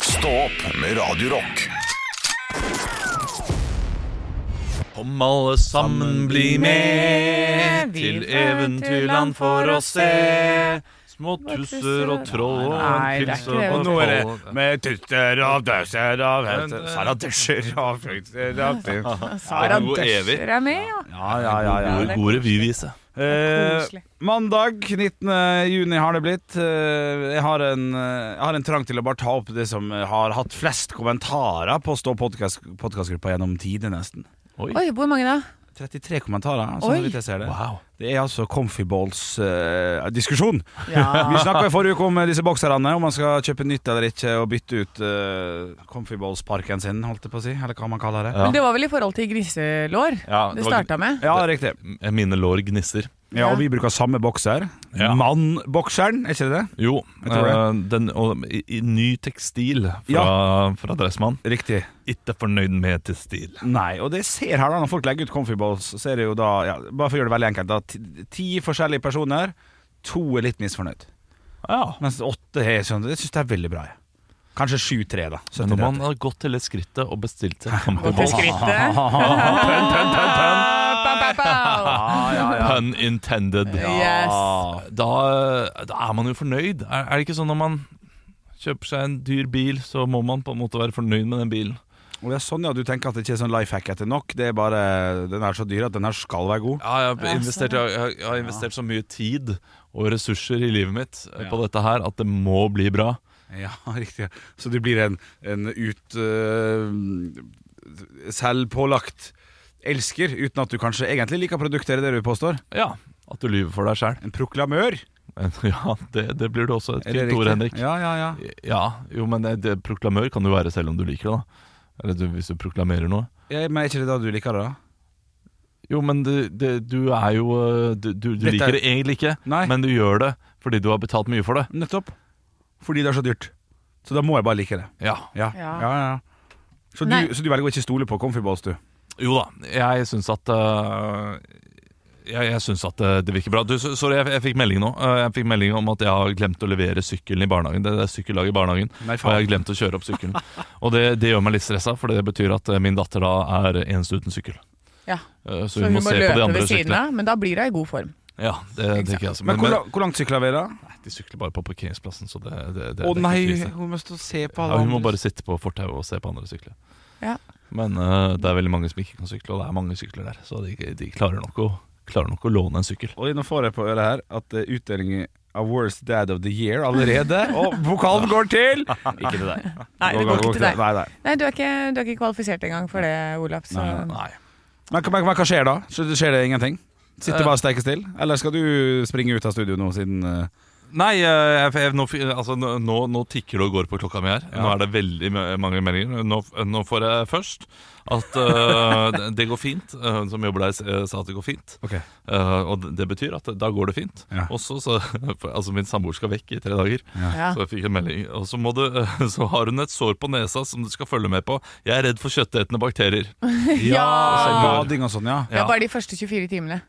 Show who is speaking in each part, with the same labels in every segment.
Speaker 1: Stå opp med Radio Rock.
Speaker 2: Kom alle sammen, bli med
Speaker 3: Vi
Speaker 2: til
Speaker 3: fær
Speaker 2: eventyrland for å se. Små tusser og troll og
Speaker 3: Nei,
Speaker 2: en
Speaker 3: det er
Speaker 2: pils
Speaker 3: ikke
Speaker 2: og
Speaker 3: det.
Speaker 2: en
Speaker 3: Og
Speaker 4: Nå er
Speaker 2: troll.
Speaker 4: det med tutter og døser og hester Sara døsjer og frukter og ting.
Speaker 2: det er
Speaker 3: Sara
Speaker 2: jo evig.
Speaker 3: Døscher er med, ja.
Speaker 4: Ja, ja, ja, ja.
Speaker 2: God, god revyvise.
Speaker 4: Eh,
Speaker 3: Koselig.
Speaker 4: mandag 19. juni har det blitt. Eh, jeg, har en, eh, jeg har en trang til å bare ta opp det som eh, har hatt flest kommentarer på Stå podkastgruppa gjennom tider, nesten.
Speaker 3: Oi, hvor mange da?
Speaker 4: 33 kommentarer,
Speaker 3: Oi.
Speaker 4: sånn vidt jeg ser det.
Speaker 2: Wow.
Speaker 4: Det er altså Comfyballs-diskusjon. Vi
Speaker 3: Ja.
Speaker 4: snakka i forrige uke om eh, disse bokserne, om man skal kjøpe nytt eller ikke og bytte ut uh, Comfyballs-parken sin, holdt jeg på å si. Eller hva man kaller det.
Speaker 2: Ja.
Speaker 3: Men det var vel i forhold til griselår
Speaker 2: Ja,
Speaker 3: det
Speaker 2: var-
Speaker 3: starta med?
Speaker 4: Ja, riktig.
Speaker 2: Mine lår gnisser.
Speaker 4: Ja, og vi bruker samme bokser.
Speaker 2: Ja.
Speaker 4: Mannbokseren, er ikke det det?
Speaker 2: Jo,
Speaker 4: Jeg tror det.
Speaker 2: eh, den, og, i, i ny tekstil fra, fra Dressmann.
Speaker 4: Riktig.
Speaker 2: Ikke fornøyd med til stil.
Speaker 4: Nei, og det jeg ser her da når folk legger ut comfyballs, så er det jo da ja, Bare for å gjøre det veldig enkelt, da. Ti, ti forskjellige personer. To er litt misfornøyd.
Speaker 2: Ja.
Speaker 4: Mens åtte er sånn Jeg syns det er veldig bra. jeg. Kanskje sju-tre, da.
Speaker 2: Men når man har gått til det skrittet og bestilt seg
Speaker 3: Gå til
Speaker 2: campingboll
Speaker 3: skrittet. Pow, pow, pow.
Speaker 2: Pun intended.
Speaker 3: Yes.
Speaker 2: Da, da er man jo fornøyd. Er, er det ikke sånn når man kjøper seg en dyr bil, så må man på en måte være fornøyd med den bilen?
Speaker 4: Og det er sånn, ja, Du tenker at det ikke er sånn life hack etter nok. Det er bare Den er så dyr at den her skal være god.
Speaker 2: Ja, jeg har investert, jeg, har- jeg har investert så mye tid og ressurser i livet mitt eh, på dette her at det må bli bra.
Speaker 4: Ja, riktig. Så du blir en, en ut eh, Selvpålagt elsker, uten at du kanskje egentlig liker produktet, er det det du påstår?
Speaker 2: Ja, At du lyver for deg sjæl.
Speaker 4: En proklamør?
Speaker 2: Ja, det, det blir det også et
Speaker 4: Er det
Speaker 2: fint ord, Henrik.
Speaker 4: riktig? Ja, ja, ja.
Speaker 2: Ja, jo, men det, det, proklamør kan du være selv om du liker det, da. Eller du, hvis du proklamerer noe.
Speaker 4: Ja, Eh, Men er ikke det da du liker det, da?
Speaker 2: Jo, men det, det, du er jo eh, Du, du, du
Speaker 4: Dette er-
Speaker 2: liker det egentlig ikke,
Speaker 4: Nei.
Speaker 2: men du gjør det fordi du har betalt mye for det.
Speaker 4: Nettopp. Fordi det er så dyrt. Så da må jeg bare like det.
Speaker 2: Ja.
Speaker 4: Ja, ja,
Speaker 3: Ja.
Speaker 4: ja. Så,
Speaker 3: Nei.
Speaker 4: du, så du velger å ikke stole på Comfyballs, du?
Speaker 2: Jo da, jeg syns at eh, jeg, jeg syns at eh, det, det virker bra. Du, så- sorry, jeg, jeg fikk melding nå. Eh, jeg fikk melding om at jeg har glemt å levere sykkelen i barnehagen. Det, det er sykkellag i barnehagen,
Speaker 4: Nei,
Speaker 2: og jeg har glemt å kjøre opp sykkelen. og det, det gjør meg litt stressa, for det betyr at eh, min datter da er eneste uten sykkel.
Speaker 3: Ja.
Speaker 2: Eh, så,
Speaker 3: Så
Speaker 2: hun må, se på de
Speaker 3: løpe
Speaker 2: andre
Speaker 3: ved siden
Speaker 2: syklene.
Speaker 3: av, men da blir hun i god form.
Speaker 2: Ja, det tenker jeg også.
Speaker 4: Men, hvor, la- hvor langt sykler vi, da?
Speaker 2: nei, de sykler bare på parkeringsplassen, så det, det, det,
Speaker 4: Å
Speaker 2: det er
Speaker 4: nei,
Speaker 2: ikke krise.
Speaker 4: hun må stå og se på
Speaker 2: Ja,
Speaker 4: alle
Speaker 2: hun må
Speaker 4: andre.
Speaker 2: bare sitte på fortauet og se på andre sykler.
Speaker 3: Ja.
Speaker 2: Men eh, det er veldig mange som ikke kan sykle, og det er mange sykler der. Så de, de klarer, nok å, klarer nok å låne en sykkel.
Speaker 4: Og nå får jeg på øret her at det er utdeling av Worst Dad of the Year allerede. Og pokalen går til Ikke til deg.
Speaker 3: Nei, det går ikke til deg.
Speaker 4: Nei, nei.
Speaker 3: Nei, du er ikke, du er ikke kvalifisert engang for det, Olaf. Så.
Speaker 2: Nei.
Speaker 4: Men, hva- hva- hva skjer da? Så det skjer det ingenting? Sitter
Speaker 2: Eh.
Speaker 4: bare og steker til? Eller skal du springe ut av studio nå siden eh,
Speaker 2: Nei, eh, jeg, jeg, nå, f- altså, nå, nå- nå tikker det og går på klokka mi her. Nå
Speaker 4: Ja.
Speaker 2: er det veldig m- mange meldinger. Nå, f- nå får jeg først at eh, det- det går fint. Eh, Hun som jobber der, s- eh, sa at det går fint. Eh, og det- det betyr at da går det fint.
Speaker 4: Ja.
Speaker 2: Og så, så for- Altså, min samboer skal vekk i tre dager.
Speaker 3: Ja.
Speaker 2: Så jeg fikk en melding. Og så, må du, eh, så har hun et sår på nesa som du skal følge med på. Jeg er redd for kjøttetende bakterier.
Speaker 4: Ja,
Speaker 3: Ja.
Speaker 4: Bading og sånn, ja.
Speaker 3: Det er bare de første 24 timene.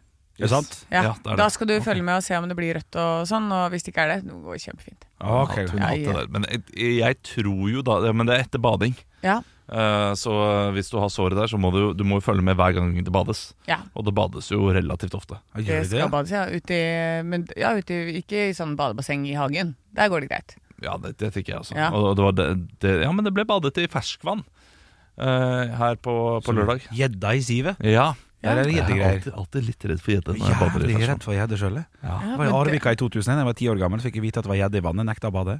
Speaker 4: Er det sant?
Speaker 3: Ja.
Speaker 2: Ja, det er det.
Speaker 3: Da skal du følge med og se om det blir rødt og sånn, og hvis det ikke er det, det går kjempefint.
Speaker 4: Ok.
Speaker 2: At hun
Speaker 3: Ja,
Speaker 2: hatt det
Speaker 3: ja.
Speaker 2: der. Men jeg, jeg tror jo da Men det er etter bading.
Speaker 3: Ja.
Speaker 2: Eh, Så hvis du har såret der, så må du, du må jo følge med hver gang det bades.
Speaker 3: Ja.
Speaker 2: Og det bades jo relativt ofte.
Speaker 3: Det
Speaker 4: Gjør
Speaker 3: skal
Speaker 4: de det?
Speaker 3: bades, ja. Ute i, men, ja, ute i, ikke i sånn badebasseng i hagen. Der går det greit.
Speaker 2: Ja, det, det tenker jeg også.
Speaker 3: Ja.
Speaker 2: Og det var det, det, ja, men det ble badet i ferskvann eh, her på, på lørdag.
Speaker 4: Gjedda i sivet.
Speaker 2: Ja.
Speaker 4: Der er det
Speaker 2: Jeg er
Speaker 4: gjeddegreier.
Speaker 2: alltid, alltid litt redd for gjedde når jeg bader i
Speaker 4: Jævlig
Speaker 2: ferskvann.
Speaker 4: redd for gjedde sjøl. Jeg
Speaker 2: Ja.
Speaker 3: sånn. Ja,
Speaker 4: var i
Speaker 3: men det-
Speaker 4: Arvika i 2001, jeg var ti år gammel, fikk jeg vite at det var gjedde i vannet, nekta å bade.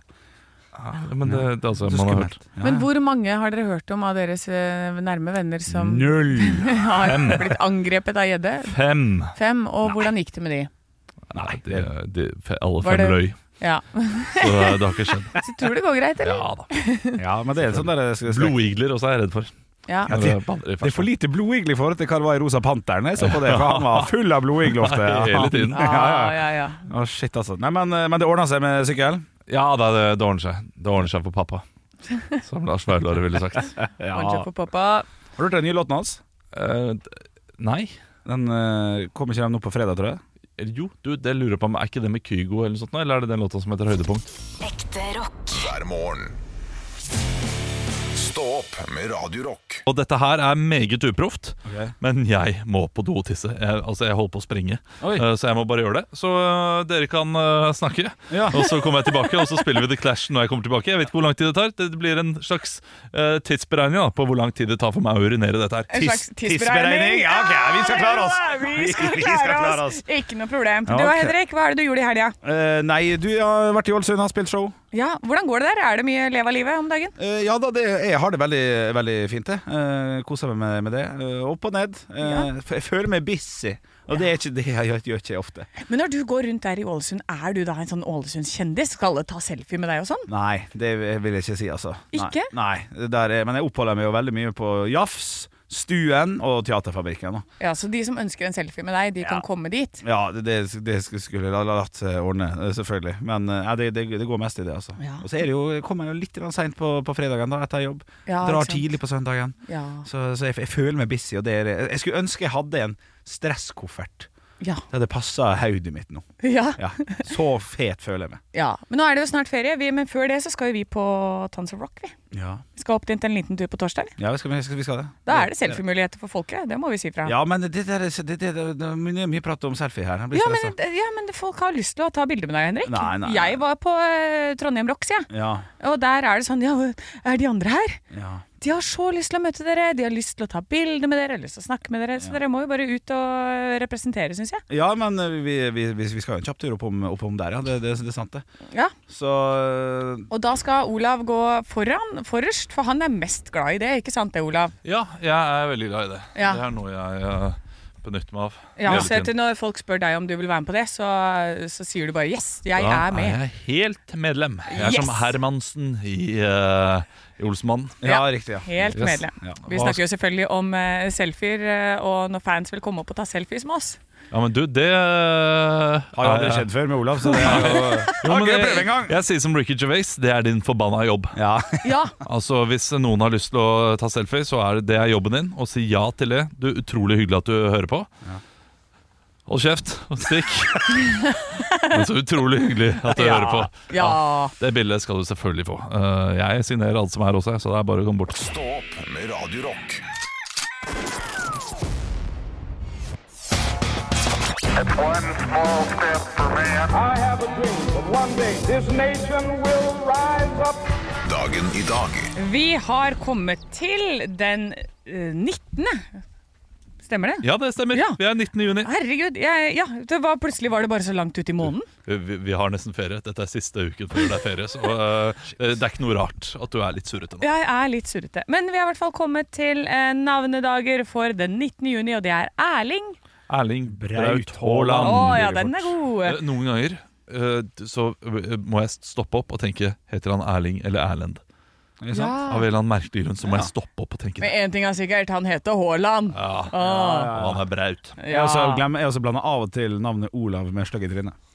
Speaker 2: Ja, Men det, det er altså, man
Speaker 4: Så
Speaker 2: har
Speaker 4: skummelt.
Speaker 2: hørt
Speaker 4: Ja,
Speaker 3: Men
Speaker 4: ja.
Speaker 3: hvor mange har dere hørt om av deres eh, nærme venner som
Speaker 4: Null!
Speaker 3: har blitt angrepet av gjedde?
Speaker 2: Fem!
Speaker 3: Fem. Og hvordan gikk det med de?
Speaker 2: Nei, de, de, fe, alle
Speaker 3: Var
Speaker 2: fem
Speaker 3: det-
Speaker 2: røy.
Speaker 3: Ja.
Speaker 2: Så det, det har ikke skjedd.
Speaker 3: Så tror du det går greit, eller?
Speaker 2: Ja da.
Speaker 4: Ja, men det er sånn der skal jeg si.
Speaker 2: Blodigler også er jeg redd for.
Speaker 3: Ja.
Speaker 4: Ja,
Speaker 2: når
Speaker 4: det-
Speaker 2: jeg bader i
Speaker 4: Det er for
Speaker 2: ferskvann.
Speaker 4: lite blodigler i forhold til hva det var i Rosa Panteren. Jeg så på det, for han var full av blodigler ofte.
Speaker 2: Nei, hele tiden.
Speaker 3: Ja,
Speaker 4: Ja, ja.
Speaker 3: ja, ja.
Speaker 4: Å, shit, altså. Nei, men, men det ordna seg med sykkel.
Speaker 2: Ja, det, det, det ordner seg. Det ordner seg for pappa. Som Lars Vaular ville sagt.
Speaker 3: Ordentlig
Speaker 4: Har
Speaker 3: for pappa.
Speaker 4: du hørt den nye låten hans?
Speaker 2: Eh, d- nei.
Speaker 4: Den eh, kommer ikke den nå på fredag, tror jeg.
Speaker 2: Eller Jo, du, det lurer jeg på om Er ikke det med Kygo eller noe sånt nå? Eller er det den låta som heter Høydepunkt?
Speaker 5: Ekte rock.
Speaker 1: hver morgen. Stå opp med Radio Rock.
Speaker 2: Og dette her er meget uproft,
Speaker 4: Ok.
Speaker 2: men jeg må på do og tisse. Jeg, altså, jeg holder på å springe,
Speaker 4: Oi.
Speaker 2: Eh, så jeg må bare gjøre det. Så eh, dere kan eh, snakke,
Speaker 4: Ja.
Speaker 2: og så kommer jeg tilbake, og så spiller vi The Clash når jeg kommer tilbake. Jeg vet ikke hvor lang tid det tar. Det blir en slags eh, tidsberegning da, på hvor lang tid det tar for meg å urinere dette her.
Speaker 3: En slags
Speaker 4: Tiss-
Speaker 3: tidsberegning.
Speaker 4: Ja, ok, vi skal klare oss.
Speaker 3: Ja, Vi skal
Speaker 4: Vi- vi skal klare
Speaker 3: klare
Speaker 4: oss.
Speaker 3: oss. Ikke noe problem. Du
Speaker 4: Ja,
Speaker 3: da,
Speaker 4: ok.
Speaker 3: Henrik, hva er det du gjorde i helga?
Speaker 4: Eh, nei, du har vært i Ålesund, har spilt show.
Speaker 3: Ja, hvordan går det der? Er det mye leve av livet om dagen?
Speaker 4: Eh, ja da, det, jeg har det veldig, veldig fint, det. Eh, koser meg med, med det. Eh, opp og ned. Eh,
Speaker 3: Ja.
Speaker 4: f- Jeg føler meg busy, og det er ikke det jeg gjør, gjør ikke jeg ofte.
Speaker 3: Men når du går rundt der i Ålesund, er du da en sånn Ålesundskjendis? Skal alle ta selfie med deg og sånn?
Speaker 4: Nei, det vil jeg ikke si, altså. Nei.
Speaker 3: Ikke?
Speaker 4: Nei, det der er, men jeg oppholder meg jo veldig mye på Jafs, Stuen og Teaterfabrikken. da.
Speaker 3: Ja, så de som ønsker en selfie med deg, de kan
Speaker 4: Ja.
Speaker 3: komme dit.
Speaker 4: Ja, det, det det skulle jeg la- la- latt eh, ordne, eh, selvfølgelig. Men eh, ja, det, det, det går mest i det, altså.
Speaker 3: Ja.
Speaker 4: Og så er det jo, jeg kommer jeg jo litt grann seint på, på fredagen da, etter jobb.
Speaker 3: Ja,
Speaker 4: Drar
Speaker 3: ikke sant?
Speaker 4: tidlig på søndagen.
Speaker 3: Ja.
Speaker 4: Så, så jeg, jeg føler meg busy. Og det er, jeg skulle ønske jeg hadde en stresskoffert.
Speaker 3: Ja.
Speaker 4: Det hadde passa hodet mitt nå.
Speaker 3: ja.
Speaker 4: Ja, Så fet føler jeg meg.
Speaker 3: ja. Men nå er det jo snart ferie, vi, men før det så skal jo vi på Tons of Rock, vi.
Speaker 4: Ja,
Speaker 3: Vi skal opp dit en liten tur på torsdag, eller?
Speaker 4: ja vi, skal, vi, skal, vi skal det.
Speaker 3: Da er det selfiemuligheter for folket, det må vi si fra.
Speaker 4: Ja, men det, der, er- det, det, det, det er mye- mye prat om selfie her. Jeg blir
Speaker 3: Ja
Speaker 4: stressa.
Speaker 3: men, ja, men folk har lyst til å ta bilde med deg, Henrik.
Speaker 4: Nei, nei, nei.
Speaker 3: Jeg var på eh, Trondheim Rock, sier jeg.
Speaker 4: Ja,
Speaker 3: Og der er det sånn Ja, er de andre her?
Speaker 4: ja.
Speaker 3: De har så lyst til å møte dere, de har lyst til å ta bilde med dere, lyst til å snakke med dere. Så dere må jo bare ut og eh, representere, syns jeg.
Speaker 4: ja men eh, vi, vi, vi vi skal jo en kjapp tur oppom opp om der, ja. Det, det, det er sant, det.
Speaker 3: Ja.
Speaker 4: Så eh,
Speaker 3: Og da skal Olav gå foran, forrest, for han er mest glad i det, ikke sant det, Olav?
Speaker 2: Ja, jeg er veldig glad i det.
Speaker 3: Ja.
Speaker 2: Det er noe jeg eh, benytter meg av.
Speaker 3: Ja,
Speaker 2: hele
Speaker 3: så
Speaker 2: tiden.
Speaker 3: at når folk spør deg om du vil være med på det, så, så sier du bare 'yes, jeg
Speaker 2: Da
Speaker 3: er med'.
Speaker 2: er jeg helt medlem. Jeg er
Speaker 3: Yes!
Speaker 2: som Hermansen i, eh, i Olsenmannen.
Speaker 4: Ja,
Speaker 3: Ja.
Speaker 4: riktig. ja
Speaker 3: Helt
Speaker 2: Yes.
Speaker 3: medlem.
Speaker 4: Ja.
Speaker 3: Vi snakker jo selvfølgelig om eh, selfier, eh, og når fans vil komme opp og ta selfies med oss.
Speaker 2: Ja, men du, det eh, Har
Speaker 4: Har jo aldri skjedd før med Olav, så det er jo
Speaker 2: Jo, men
Speaker 4: Har ikke
Speaker 2: det-
Speaker 4: prøvd engang.
Speaker 2: Jeg sier som Ricky Gervais, det er din forbanna jobb.
Speaker 4: Ja.
Speaker 3: Ja,
Speaker 2: Altså, Hvis noen har lyst til å ta selfie, så er det, det er jobben din. Og si ja til det. Du, Utrolig hyggelig at du hører på. Hold kjeft og stikk. men så utrolig hyggelig at du
Speaker 4: Ja.
Speaker 2: hører på.
Speaker 3: ja.
Speaker 2: Det bildet skal du selvfølgelig få. Eh, jeg signerer alt som er også, så det er bare å komme bort.
Speaker 1: Stå opp med Radio Rock.
Speaker 5: One small step for man.
Speaker 6: I have a dream that one day this nation will rise up.
Speaker 1: Dagen i dag.
Speaker 3: Vi har kommet til den eh, 19. Stemmer det?
Speaker 2: Ja, det stemmer.
Speaker 3: Ja.
Speaker 2: Vi er 19. juni.
Speaker 3: Herregud, jeg, ja, det var, plutselig var det bare så langt ut i måneden.
Speaker 2: Vi, vi har nesten ferie. Dette er siste uken før det er ferie, så eh, det er ikke noe rart at du er litt surrete nå.
Speaker 3: Jeg er litt surrete. Men vi har i hvert fall kommet til eh, navnedager for den 19. juni, og det er Erling.
Speaker 2: Erling
Speaker 4: Braut
Speaker 2: Braut
Speaker 3: Å
Speaker 2: Haaland.
Speaker 3: ja, den er
Speaker 2: Eh,
Speaker 3: god.
Speaker 2: Noen ganger eh, d- så eh, må jeg stoppe opp og tenke Heter han Erling eller Erlend?
Speaker 4: Ikke
Speaker 2: Av
Speaker 4: sant?
Speaker 2: en eller annen merkelig grunn så må jeg stoppe opp og tenke det.
Speaker 3: Ah. Men én ting er sikkert, han heter Haaland.
Speaker 2: Ja,
Speaker 3: Åh,
Speaker 2: Og han er Braut.
Speaker 4: Jeg også, glemmer, jeg også blander av og til navnet Olav med slag i trynet.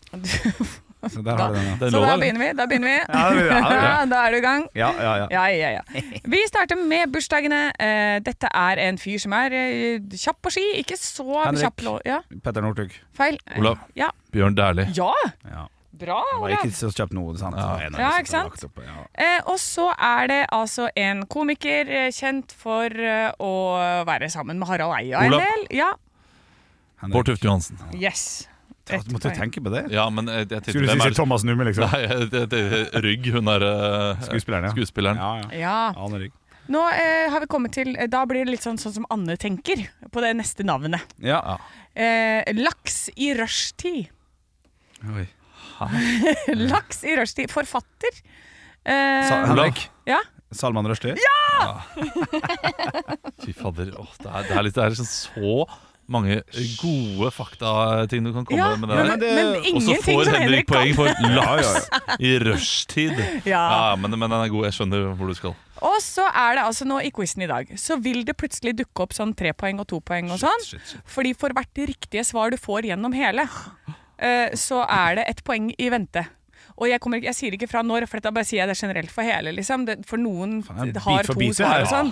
Speaker 4: Så der har du den. ja.
Speaker 2: Den
Speaker 3: Så
Speaker 2: lå
Speaker 3: da
Speaker 2: der.
Speaker 3: begynner vi. Da begynner vi.
Speaker 4: Ja, det blir bra, det blir bra.
Speaker 3: da er du i gang.
Speaker 4: Ja, ja, ja.
Speaker 3: Ja, ja, ja. Vi starter med bursdagene. Eh, Dette er en fyr som er eh, kjapp på ski. Ikke så
Speaker 4: Henrik.
Speaker 3: kjapp lå- Ja,
Speaker 4: Petter Northug.
Speaker 3: feil.
Speaker 2: Olav.
Speaker 3: Ja.
Speaker 2: Bjørn Dæhlie.
Speaker 3: ja.
Speaker 4: Ja.
Speaker 3: Bra,
Speaker 4: Var
Speaker 3: Olav.
Speaker 4: ikke så kjapt nå, sant? En av
Speaker 3: Ja,
Speaker 4: disse
Speaker 3: ikke sant?
Speaker 4: lagt opp, ja.
Speaker 3: Eh, og så er det altså en komiker eh, kjent for eh, å være sammen med Harald Eia en
Speaker 2: Olav.
Speaker 3: del. Ja,
Speaker 4: Henrik.
Speaker 2: Bård Tufte Johansen.
Speaker 3: yes.
Speaker 4: Ta-
Speaker 3: Ett
Speaker 4: Måtte
Speaker 3: poeng.
Speaker 4: du tenke på det?
Speaker 2: Ja, men eh, jeg
Speaker 4: Skulle
Speaker 2: tenkte
Speaker 4: du
Speaker 2: hvem
Speaker 4: si
Speaker 2: er det-
Speaker 4: Thomas Numme, liksom?
Speaker 2: Nei, det, det, Rygg. Hun er eh,
Speaker 4: Skuespilleren, ja.
Speaker 2: skuespilleren.
Speaker 4: Ja, ja.
Speaker 3: Ja.
Speaker 4: Ja, han er rygg.
Speaker 3: Nå eh, har vi kommet til eh, Da blir det litt sånn, sånn som Anne tenker på det neste navnet.
Speaker 4: Ja.
Speaker 3: Eh, laks i rushtid.
Speaker 4: Oi.
Speaker 3: Eh, Laks i rushtid. Forfatter. Eh,
Speaker 4: Sa Henrik.
Speaker 3: ja.
Speaker 4: Salman Rushdie?
Speaker 2: Fy fader. Åh, det, er, det, er litt, det er liksom så mange gode faktating du kan komme
Speaker 3: ja,
Speaker 2: med.
Speaker 3: men,
Speaker 2: det der.
Speaker 3: men,
Speaker 4: det-
Speaker 2: Og så
Speaker 3: ingenting
Speaker 2: får
Speaker 3: som
Speaker 2: Henrik
Speaker 3: Henrik
Speaker 2: poeng
Speaker 3: kan.
Speaker 2: for laks i rushtid.
Speaker 3: Ja.
Speaker 2: Ja, men, men den er god. Jeg skjønner hvor du skal.
Speaker 3: Og så er det altså nå i quizen i dag, så vil det plutselig dukke opp sånn tre poeng og to poeng og sånn.
Speaker 4: shit, shit.
Speaker 3: Fordi for hvert riktige svar du får gjennom hele, eh, så er det ett poeng i vente. Og jeg, kommer ikke, jeg sier ikke fra når, for da bare sier jeg det generelt for hele. Liksom. Det, for noen
Speaker 4: Faen,
Speaker 3: d- har
Speaker 4: bit for
Speaker 3: to
Speaker 4: bit, det
Speaker 3: svar
Speaker 4: her.
Speaker 3: og sånn.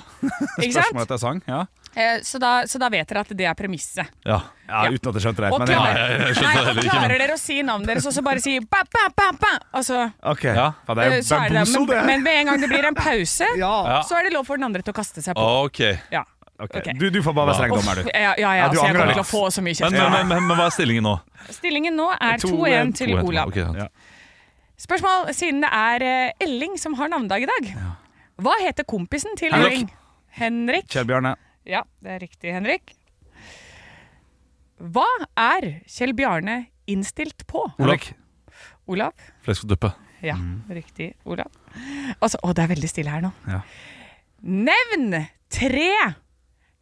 Speaker 3: Ikke
Speaker 4: Spørsmålet
Speaker 3: sant?
Speaker 4: etter sang? Ja.
Speaker 3: Eh, Så da, så da vet dere at det er premisset.
Speaker 2: Ja.
Speaker 4: ja, uten at jeg skjønte det.
Speaker 3: Og,
Speaker 4: men det er meg.
Speaker 3: klarer-
Speaker 2: jeg- jeg skjønte
Speaker 3: nei,
Speaker 2: det
Speaker 3: og
Speaker 2: heller ikke,
Speaker 3: klarer dere å si navnet deres, og så bare si ba, ba, ba, ba, og så,
Speaker 4: Ok,
Speaker 2: Ja.
Speaker 4: Faen, det
Speaker 3: eh,
Speaker 4: er jo
Speaker 3: så er det
Speaker 4: bambuso,
Speaker 3: men,
Speaker 4: det.
Speaker 3: men med en gang det blir en pause,
Speaker 2: Ja.
Speaker 3: så er det lov for den andre til å kaste seg på.
Speaker 2: Ok.
Speaker 3: Ja.
Speaker 4: Ok,
Speaker 3: ok.
Speaker 4: Du, du får bare være streng
Speaker 3: Uff,
Speaker 4: dommer, du.
Speaker 3: ja, ja, ja,
Speaker 4: Ja, du
Speaker 3: altså, jeg
Speaker 4: angrer
Speaker 3: kommer til
Speaker 4: litt.
Speaker 3: å få så mye
Speaker 2: Men,
Speaker 3: kjeft.
Speaker 2: men, men, men, men hva er stillingen nå?
Speaker 3: Stillingen nå er
Speaker 4: 2-1
Speaker 3: 2-1 til
Speaker 2: To, en, to,
Speaker 3: Olav.
Speaker 2: ok, ja.
Speaker 3: Spørsmål, siden det er eh, Elling som har navnedag i dag. Hva heter kompisen til
Speaker 4: Henrik.
Speaker 3: Elling? Henrik.
Speaker 4: Kjell Bjarne.
Speaker 3: Ja, det er riktig, Henrik. Hva er Kjell Bjarne innstilt på?
Speaker 2: Olav.
Speaker 3: Olav.
Speaker 2: Flesk og duppe.
Speaker 3: Ja, riktig, Olav. Altså, å, det er veldig stille her nå.
Speaker 4: Ja.
Speaker 3: Nevn tre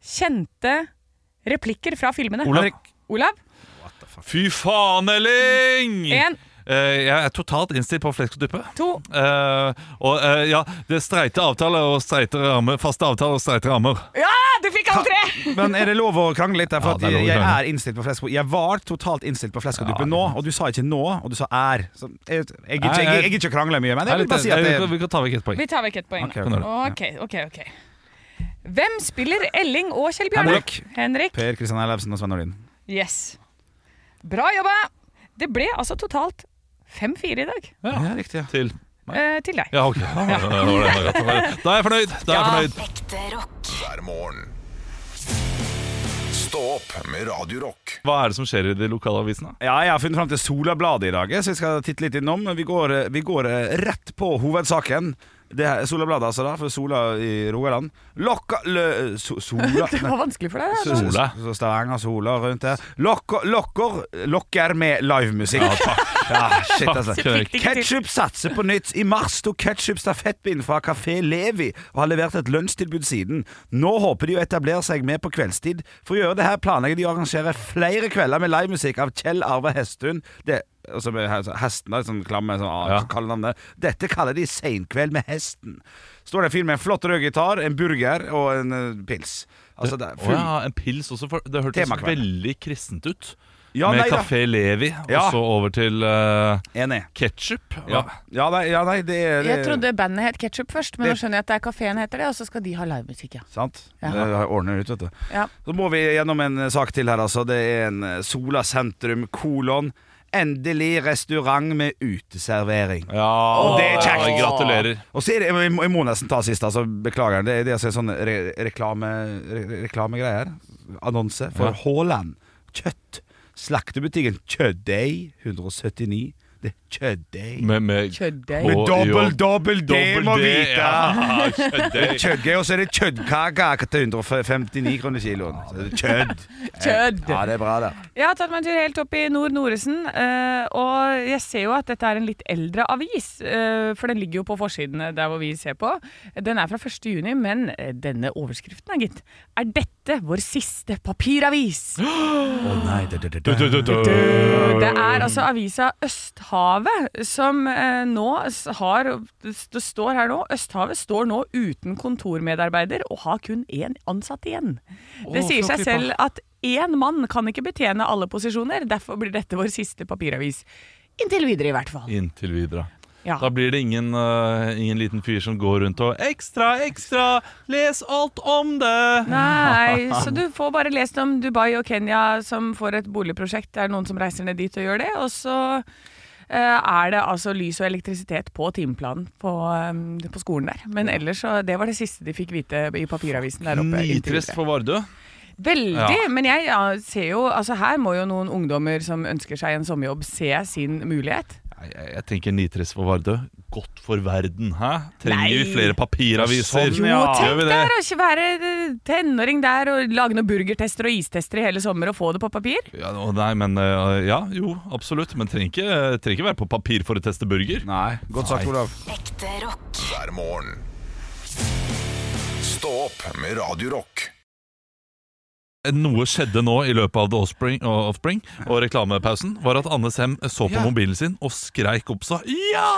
Speaker 3: kjente replikker fra filmene.
Speaker 2: Olav.
Speaker 3: Olav.
Speaker 2: Fy faen, Elling!
Speaker 3: En,
Speaker 2: Eh, jeg er totalt innstilt på flesk og duppe.
Speaker 3: to,
Speaker 2: Eh, og eh, ja, det er streite avtaler og streite rammer. Faste avtaler og streite rammer.
Speaker 3: Ja, du fikk alle tre!
Speaker 4: Men er det lov å krangle litt? Der,
Speaker 2: Ja,
Speaker 4: for
Speaker 2: det er
Speaker 4: at
Speaker 2: lov å
Speaker 4: jeg, jeg
Speaker 2: krangle.
Speaker 4: er innstilt på flesk Jeg var totalt innstilt på flesk og duppe
Speaker 2: Ja.
Speaker 4: nå, og du sa ikke nå, og du sa er. Så jeg, jeg, jeg,
Speaker 2: Nei,
Speaker 4: jeg, jeg,
Speaker 2: jeg-
Speaker 4: jeg gidder ikke å krangle mye, men jeg vil
Speaker 2: Nei,
Speaker 4: bare si at
Speaker 2: eh, vi,
Speaker 4: det
Speaker 2: kan, vi kan ta vekk et poeng.
Speaker 3: Vi tar vekk et poeng.
Speaker 4: Ok,
Speaker 3: da.
Speaker 2: ok.
Speaker 3: Ok, ok, ok. Hvem spiller Elling og Kjell Bjarne?
Speaker 4: Henrik.
Speaker 3: Henrik.
Speaker 4: Per Kristian Ellefsen og Svein Nordin.
Speaker 3: Yes. Bra jobba! Det ble altså totalt 5-4 i dag
Speaker 2: Ja.
Speaker 4: Ja, riktig. Ja.
Speaker 2: Til.
Speaker 3: eh, til deg.
Speaker 2: Ja, ok. Da var det- da var det- da var det- Da er jeg fornøyd. Da er jeg fornøyd.
Speaker 7: Ekte rock.
Speaker 1: hver morgen. Stå opp med Radio Rock.
Speaker 2: Hva er det som skjer i de lokale avisene?
Speaker 4: Ja, jeg har funnet fram til Solabladet i dag, så vi skal titte litt innom. Vi går, vi går eh, rett på hovedsaken. Det er Solabladet, altså, da, for Sola i Rogaland. Lokka... Lø, so, sola...
Speaker 3: Det var vanskelig for deg. altså.
Speaker 2: Sola.
Speaker 3: da.
Speaker 4: Så Stavanger Sola rundt der. Lokker, lokker, lokker med livemusikk. Ja, shit, altså.
Speaker 2: Takk, Erik.
Speaker 4: Ketchup satser på nytt. I mars tok Ketchup stafettbind fra Kafé Levi og har levert et lunsjtilbud siden. Nå håper de å etablere seg med på kveldstid. For å gjøre det her planlegger de å arrangere flere kvelder med livemusikk av Kjell Arve Hestun. Det, altså med he- hesten, da, sånn klamme sånn, ah,
Speaker 2: Ja.
Speaker 4: så kaller de det. Dette kaller de Seinkveld med hesten. Står det en fyr med en flott rød gitar, en burger og en eh, pils. Altså, det er
Speaker 2: Å
Speaker 4: full
Speaker 2: ja, en pils også. For det hørtes
Speaker 4: Temakveld.
Speaker 2: veldig kristent ut.
Speaker 4: Ja,
Speaker 2: Med
Speaker 4: nei da.
Speaker 2: Kafé Levi,
Speaker 4: Ja.
Speaker 2: og så over til uh,
Speaker 4: Enig.
Speaker 2: ketsjup.
Speaker 4: Ja. Ja, nei, ja, nei, det er
Speaker 8: Jeg trodde bandet het Ketchup først, men
Speaker 4: Det-
Speaker 8: nå skjønner jeg at det er kafeen heter det, og så skal de ha livemusikk, ja.
Speaker 4: Sant?
Speaker 8: Ja.
Speaker 4: Det har jeg ordnet ut, vet du.
Speaker 8: Ja.
Speaker 4: Så må vi gjennom en eh, sak til her, altså. Det er en eh, Sola sentrum, kolon. Endelig restaurant med uteservering.
Speaker 2: Ja,
Speaker 4: Og det er kjekt.
Speaker 2: Gratulerer.
Speaker 4: Og så er det, jeg må- jeg må nesten ta siste, altså. Beklager. Det er det som er sånn re reklame, re reklamegreier. Annonse for
Speaker 2: Ja.
Speaker 4: Haaland. Kjøtt. Slaktebutikken Kjøttdeig 179. Det er kjøttdeig.
Speaker 2: Med, med
Speaker 8: Kjøddeig.
Speaker 2: Å,
Speaker 4: Men dobbel,
Speaker 2: jo.
Speaker 4: dobbel, det må
Speaker 2: dobbel D.
Speaker 4: vite!
Speaker 2: Ja, kjøttdeig.
Speaker 4: Kjøttgøy, og så er det kjøttkaker til 159 kroner kiloen. Så det er Kjødd.
Speaker 8: Kjødd.
Speaker 4: Ja, det er bra, det.
Speaker 3: Jeg har tatt meg en tur helt opp i Nord-Noresen, eh, og jeg ser jo at dette er en litt eldre avis, eh, for den ligger jo på forsidene der hvor vi ser på. Den er fra 1. juni, men eh, denne overskriften er gitt. Er dette vår siste papiravis? Det er altså avisa Østhavet som eh, nå s- har Det står her nå Østhavet står nå uten kontormedarbeider og har kun én ansatt igjen. Det sier seg selv at én mann kan ikke betjene alle posisjoner, derfor blir dette vår siste papiravis. Inntil videre, i hvert fall.
Speaker 2: Inntil videre.
Speaker 3: Ja.
Speaker 2: Da blir det ingen, eh, ingen liten fyr som går rundt og Ekstra, ekstra, les alt om det!
Speaker 3: Nei, så du får bare lest om Dubai og Kenya som får et boligprosjekt. Det er noen som reiser ned dit og gjør det. Og så eh, er det altså lys og elektrisitet på timeplanen på, eh, på skolen der. Men ellers så Det var det siste de fikk vite i papiravisen der oppe. inntil
Speaker 2: Nitrist
Speaker 3: videre.
Speaker 2: for Vardø.
Speaker 3: Veldig.
Speaker 2: Ja.
Speaker 3: Men jeg ja, ser jo Altså her må jo noen ungdommer som ønsker seg en sommerjobb, se sin mulighet.
Speaker 2: Nei, jeg, jeg tenker nitrist for Vardø. Godt for verden, hæ? Trenger
Speaker 3: Nei.
Speaker 2: vi flere papiraviser?
Speaker 4: Sånn, ja.
Speaker 2: Gjør
Speaker 3: Tenk
Speaker 2: vi det?
Speaker 3: der å ikke være eh, tenåring der og lage noen burgertester og istester i hele sommer og få det på papir.
Speaker 2: Ja, å, nei, men eh, Ja, jo, absolutt. Men trenger ikke, trenger ikke være på papir for å teste burger.
Speaker 4: Nei, godt sagt,
Speaker 2: Nei.
Speaker 4: Olav.
Speaker 7: Ekte rock.
Speaker 1: hver morgen. Stå opp med Radio Rock.
Speaker 2: Noe skjedde nå i løpet av The Offspring, og Offspring og reklamepausen, var at Anne Sem så på mobilen sin og skreik opp så Ja!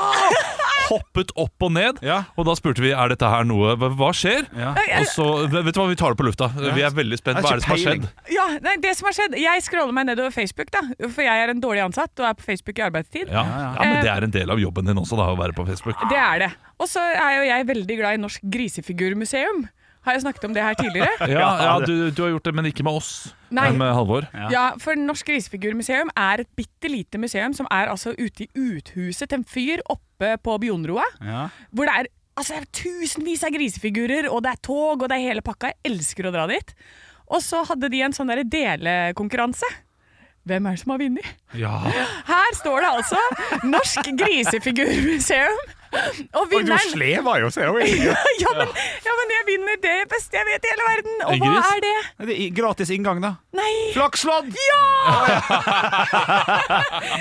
Speaker 2: hoppet opp og ned.
Speaker 4: Ja.
Speaker 2: Og da spurte vi er dette her noe Hva hva skjer.
Speaker 4: Ja.
Speaker 2: Og så, vet du hva, vi tar det på lufta. Vi er veldig spent.
Speaker 4: Jeg
Speaker 2: Hva er
Speaker 4: har
Speaker 2: det som har
Speaker 4: ikke
Speaker 2: skjedd?
Speaker 3: Ja, nei, det som har skjedd Jeg scroller meg nedover Facebook, da for jeg er en dårlig ansatt og er på Facebook i arbeidstid.
Speaker 2: Ja. ja, men det er en del av jobben din også, da, å være på Facebook.
Speaker 3: Det er det. Og så er jo jeg veldig glad i Norsk grisefigurmuseum. Har jeg snakket om det her tidligere?
Speaker 2: Ja, ja du, du har gjort det, men ikke med oss.
Speaker 3: Nei.
Speaker 2: Men med Halvor.
Speaker 3: Ja. for Norsk grisefigurmuseum er et bitte lite museum som er altså ute i uthuset til en fyr oppe på Bionroa.
Speaker 4: Ja.
Speaker 3: Hvor det er, altså, det er tusenvis av grisefigurer, og det er tog, og det er hele pakka. Jeg elsker å dra dit. Og så hadde de en sånn der delekonkurranse. Hvem er det som har vunnet? Her står det altså Norsk grisefigurmuseum. Og vinneren
Speaker 4: var jo så jeg
Speaker 3: ja, men, ja, men jeg vinner det beste jeg vet i hele verden.
Speaker 2: En
Speaker 3: Og hva
Speaker 2: gris?
Speaker 3: er det?
Speaker 4: Det er gratis inngang, da.
Speaker 3: Nei,
Speaker 4: Flakslodd!
Speaker 3: ja!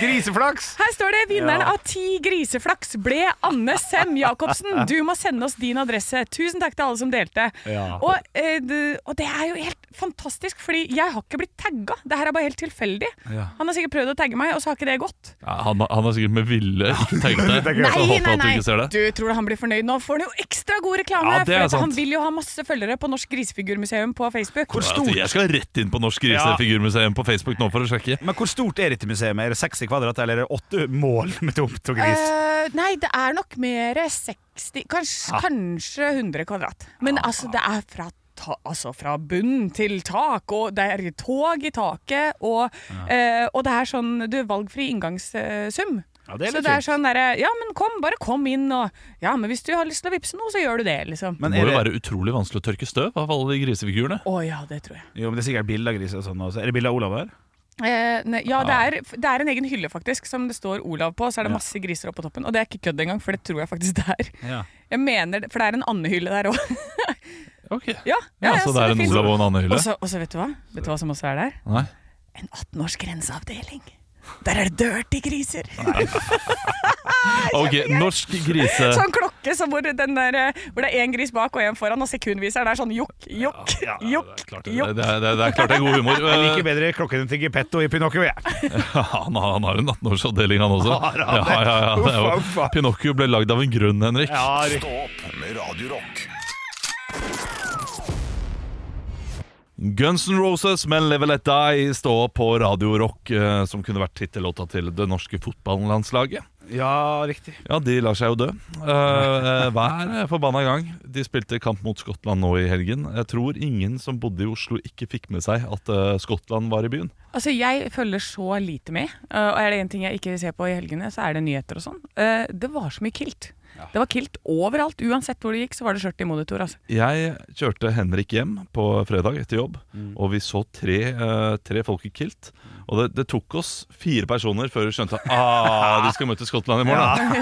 Speaker 4: Griseflaks!
Speaker 3: Her står det vinneren av ti griseflaks ble Anne Sem Jacobsen. Du må sende oss din adresse. Tusen takk til alle som delte. Og, eh, det- og det er jo helt fantastisk, fordi jeg har ikke blitt tagga. Det her er bare helt tilfeldig.
Speaker 4: Ja.
Speaker 3: Han har sikkert prøvd å tagge meg, og så har ikke det gått.
Speaker 2: Ja, han, han har sikkert med ville ikke tenkt det.
Speaker 4: tenker jeg
Speaker 2: Så håper at du ikke ser det.
Speaker 3: Du tror du han blir fornøyd nå? Får han jo ekstra god reklame!
Speaker 2: Ja, det er
Speaker 3: for at
Speaker 2: sant.
Speaker 3: Han vil jo ha masse følgere på Norsk Grisefigurmuseum på Facebook.
Speaker 4: Hvor
Speaker 2: Ja, Jeg skal rett inn på Norsk grisefigurmuseum på Facebook nå for å sjekke.
Speaker 4: Men hvor stort er dette museet? Er det 60 kvadrat, eller er det 8 mål med tomt og gris?
Speaker 3: Eh, nei, det er nok mer 60 Kanskje, kanskje 100 kvadrat. Men altså, det er fra, ta, altså, fra bunn til tak, og det er tog i taket, og, eh, og det er sånn Du, valgfri inngangssum.
Speaker 4: Ja, det
Speaker 3: så
Speaker 4: er litt
Speaker 3: det er
Speaker 4: fint.
Speaker 3: sånn derre Ja, men kom, bare kom inn, og Ja, men hvis du har lyst til å vippse noe, så gjør du det, liksom.
Speaker 2: Det
Speaker 4: Men
Speaker 2: må
Speaker 4: er
Speaker 2: jo
Speaker 4: det,
Speaker 2: være utrolig vanskelig å tørke støv av alle de grisefigurene.
Speaker 3: Å ja, det tror jeg.
Speaker 4: jo, men det er sikkert bilder av griser og sånn også. Er det bilder av Olav her?
Speaker 3: Eh, ne, ja, det er, det er en egen hylle faktisk som det står Olav på. Så er det masse griser oppå toppen. Og det er ikke kødd engang, for det tror jeg faktisk det er.
Speaker 4: Ja.
Speaker 3: Jeg mener, det- For det er en andehylle der òg.
Speaker 2: Ok
Speaker 3: ja,
Speaker 2: Ja,
Speaker 3: ja,
Speaker 2: Så det er en
Speaker 3: finnes-
Speaker 2: Olav og en annen hylle?
Speaker 3: Og så- og så vet du hva? Vet du hva som også er der?
Speaker 2: Nei.
Speaker 3: En 18-års grenseavdeling. Der er det dirty griser!
Speaker 2: Ok, Norsk grise...
Speaker 3: Sånn klokke som hvor, den der, eh, hvor det er én gris bak og én foran, og sekundviser det er sånn jokk, jokk,
Speaker 2: Ja, det
Speaker 3: jokk.
Speaker 2: er klart det,
Speaker 3: jokk.
Speaker 2: det, er- det, er- det er klart det er god humor.
Speaker 4: Jeg liker bedre klokken til Geppetto i Pinocchio. Jeg.
Speaker 2: Han har, han har en 18-årsavdeling, han også.
Speaker 4: Har han det?
Speaker 2: Ja, ja, ja, det er
Speaker 4: Uffa,
Speaker 2: jo.
Speaker 4: uffa.
Speaker 2: Pinocchio ble lagd av en grunn, Henrik.
Speaker 1: Stå opp med Radio Rock.
Speaker 2: Guns N' Roses med Level Let Die stå på Radio Rock, eh, som kunne vært tittellåta til det norske fotballandslaget.
Speaker 4: Ja, riktig.
Speaker 2: Ja, de lar seg jo dø. Eh, hver forbanna gang. De spilte kamp mot Skottland nå i helgen. Jeg tror ingen som bodde i Oslo, ikke fikk med seg at eh, Skottland var i byen.
Speaker 3: Altså, Jeg følger så lite med. eh, Og er det én ting jeg ikke ser på i helgene, så er det nyheter og sånn. Eh, Det var så mye kilt. Det var kilt overalt. Uansett hvor det gikk, så var det skjørt i monitor. altså.
Speaker 2: Jeg kjørte Henrik hjem på fredag etter jobb, og vi så tre, eh, tre folk i kilt. Og det, det tok oss fire personer før vi skjønte ah, de skal møte Skottland i morgen.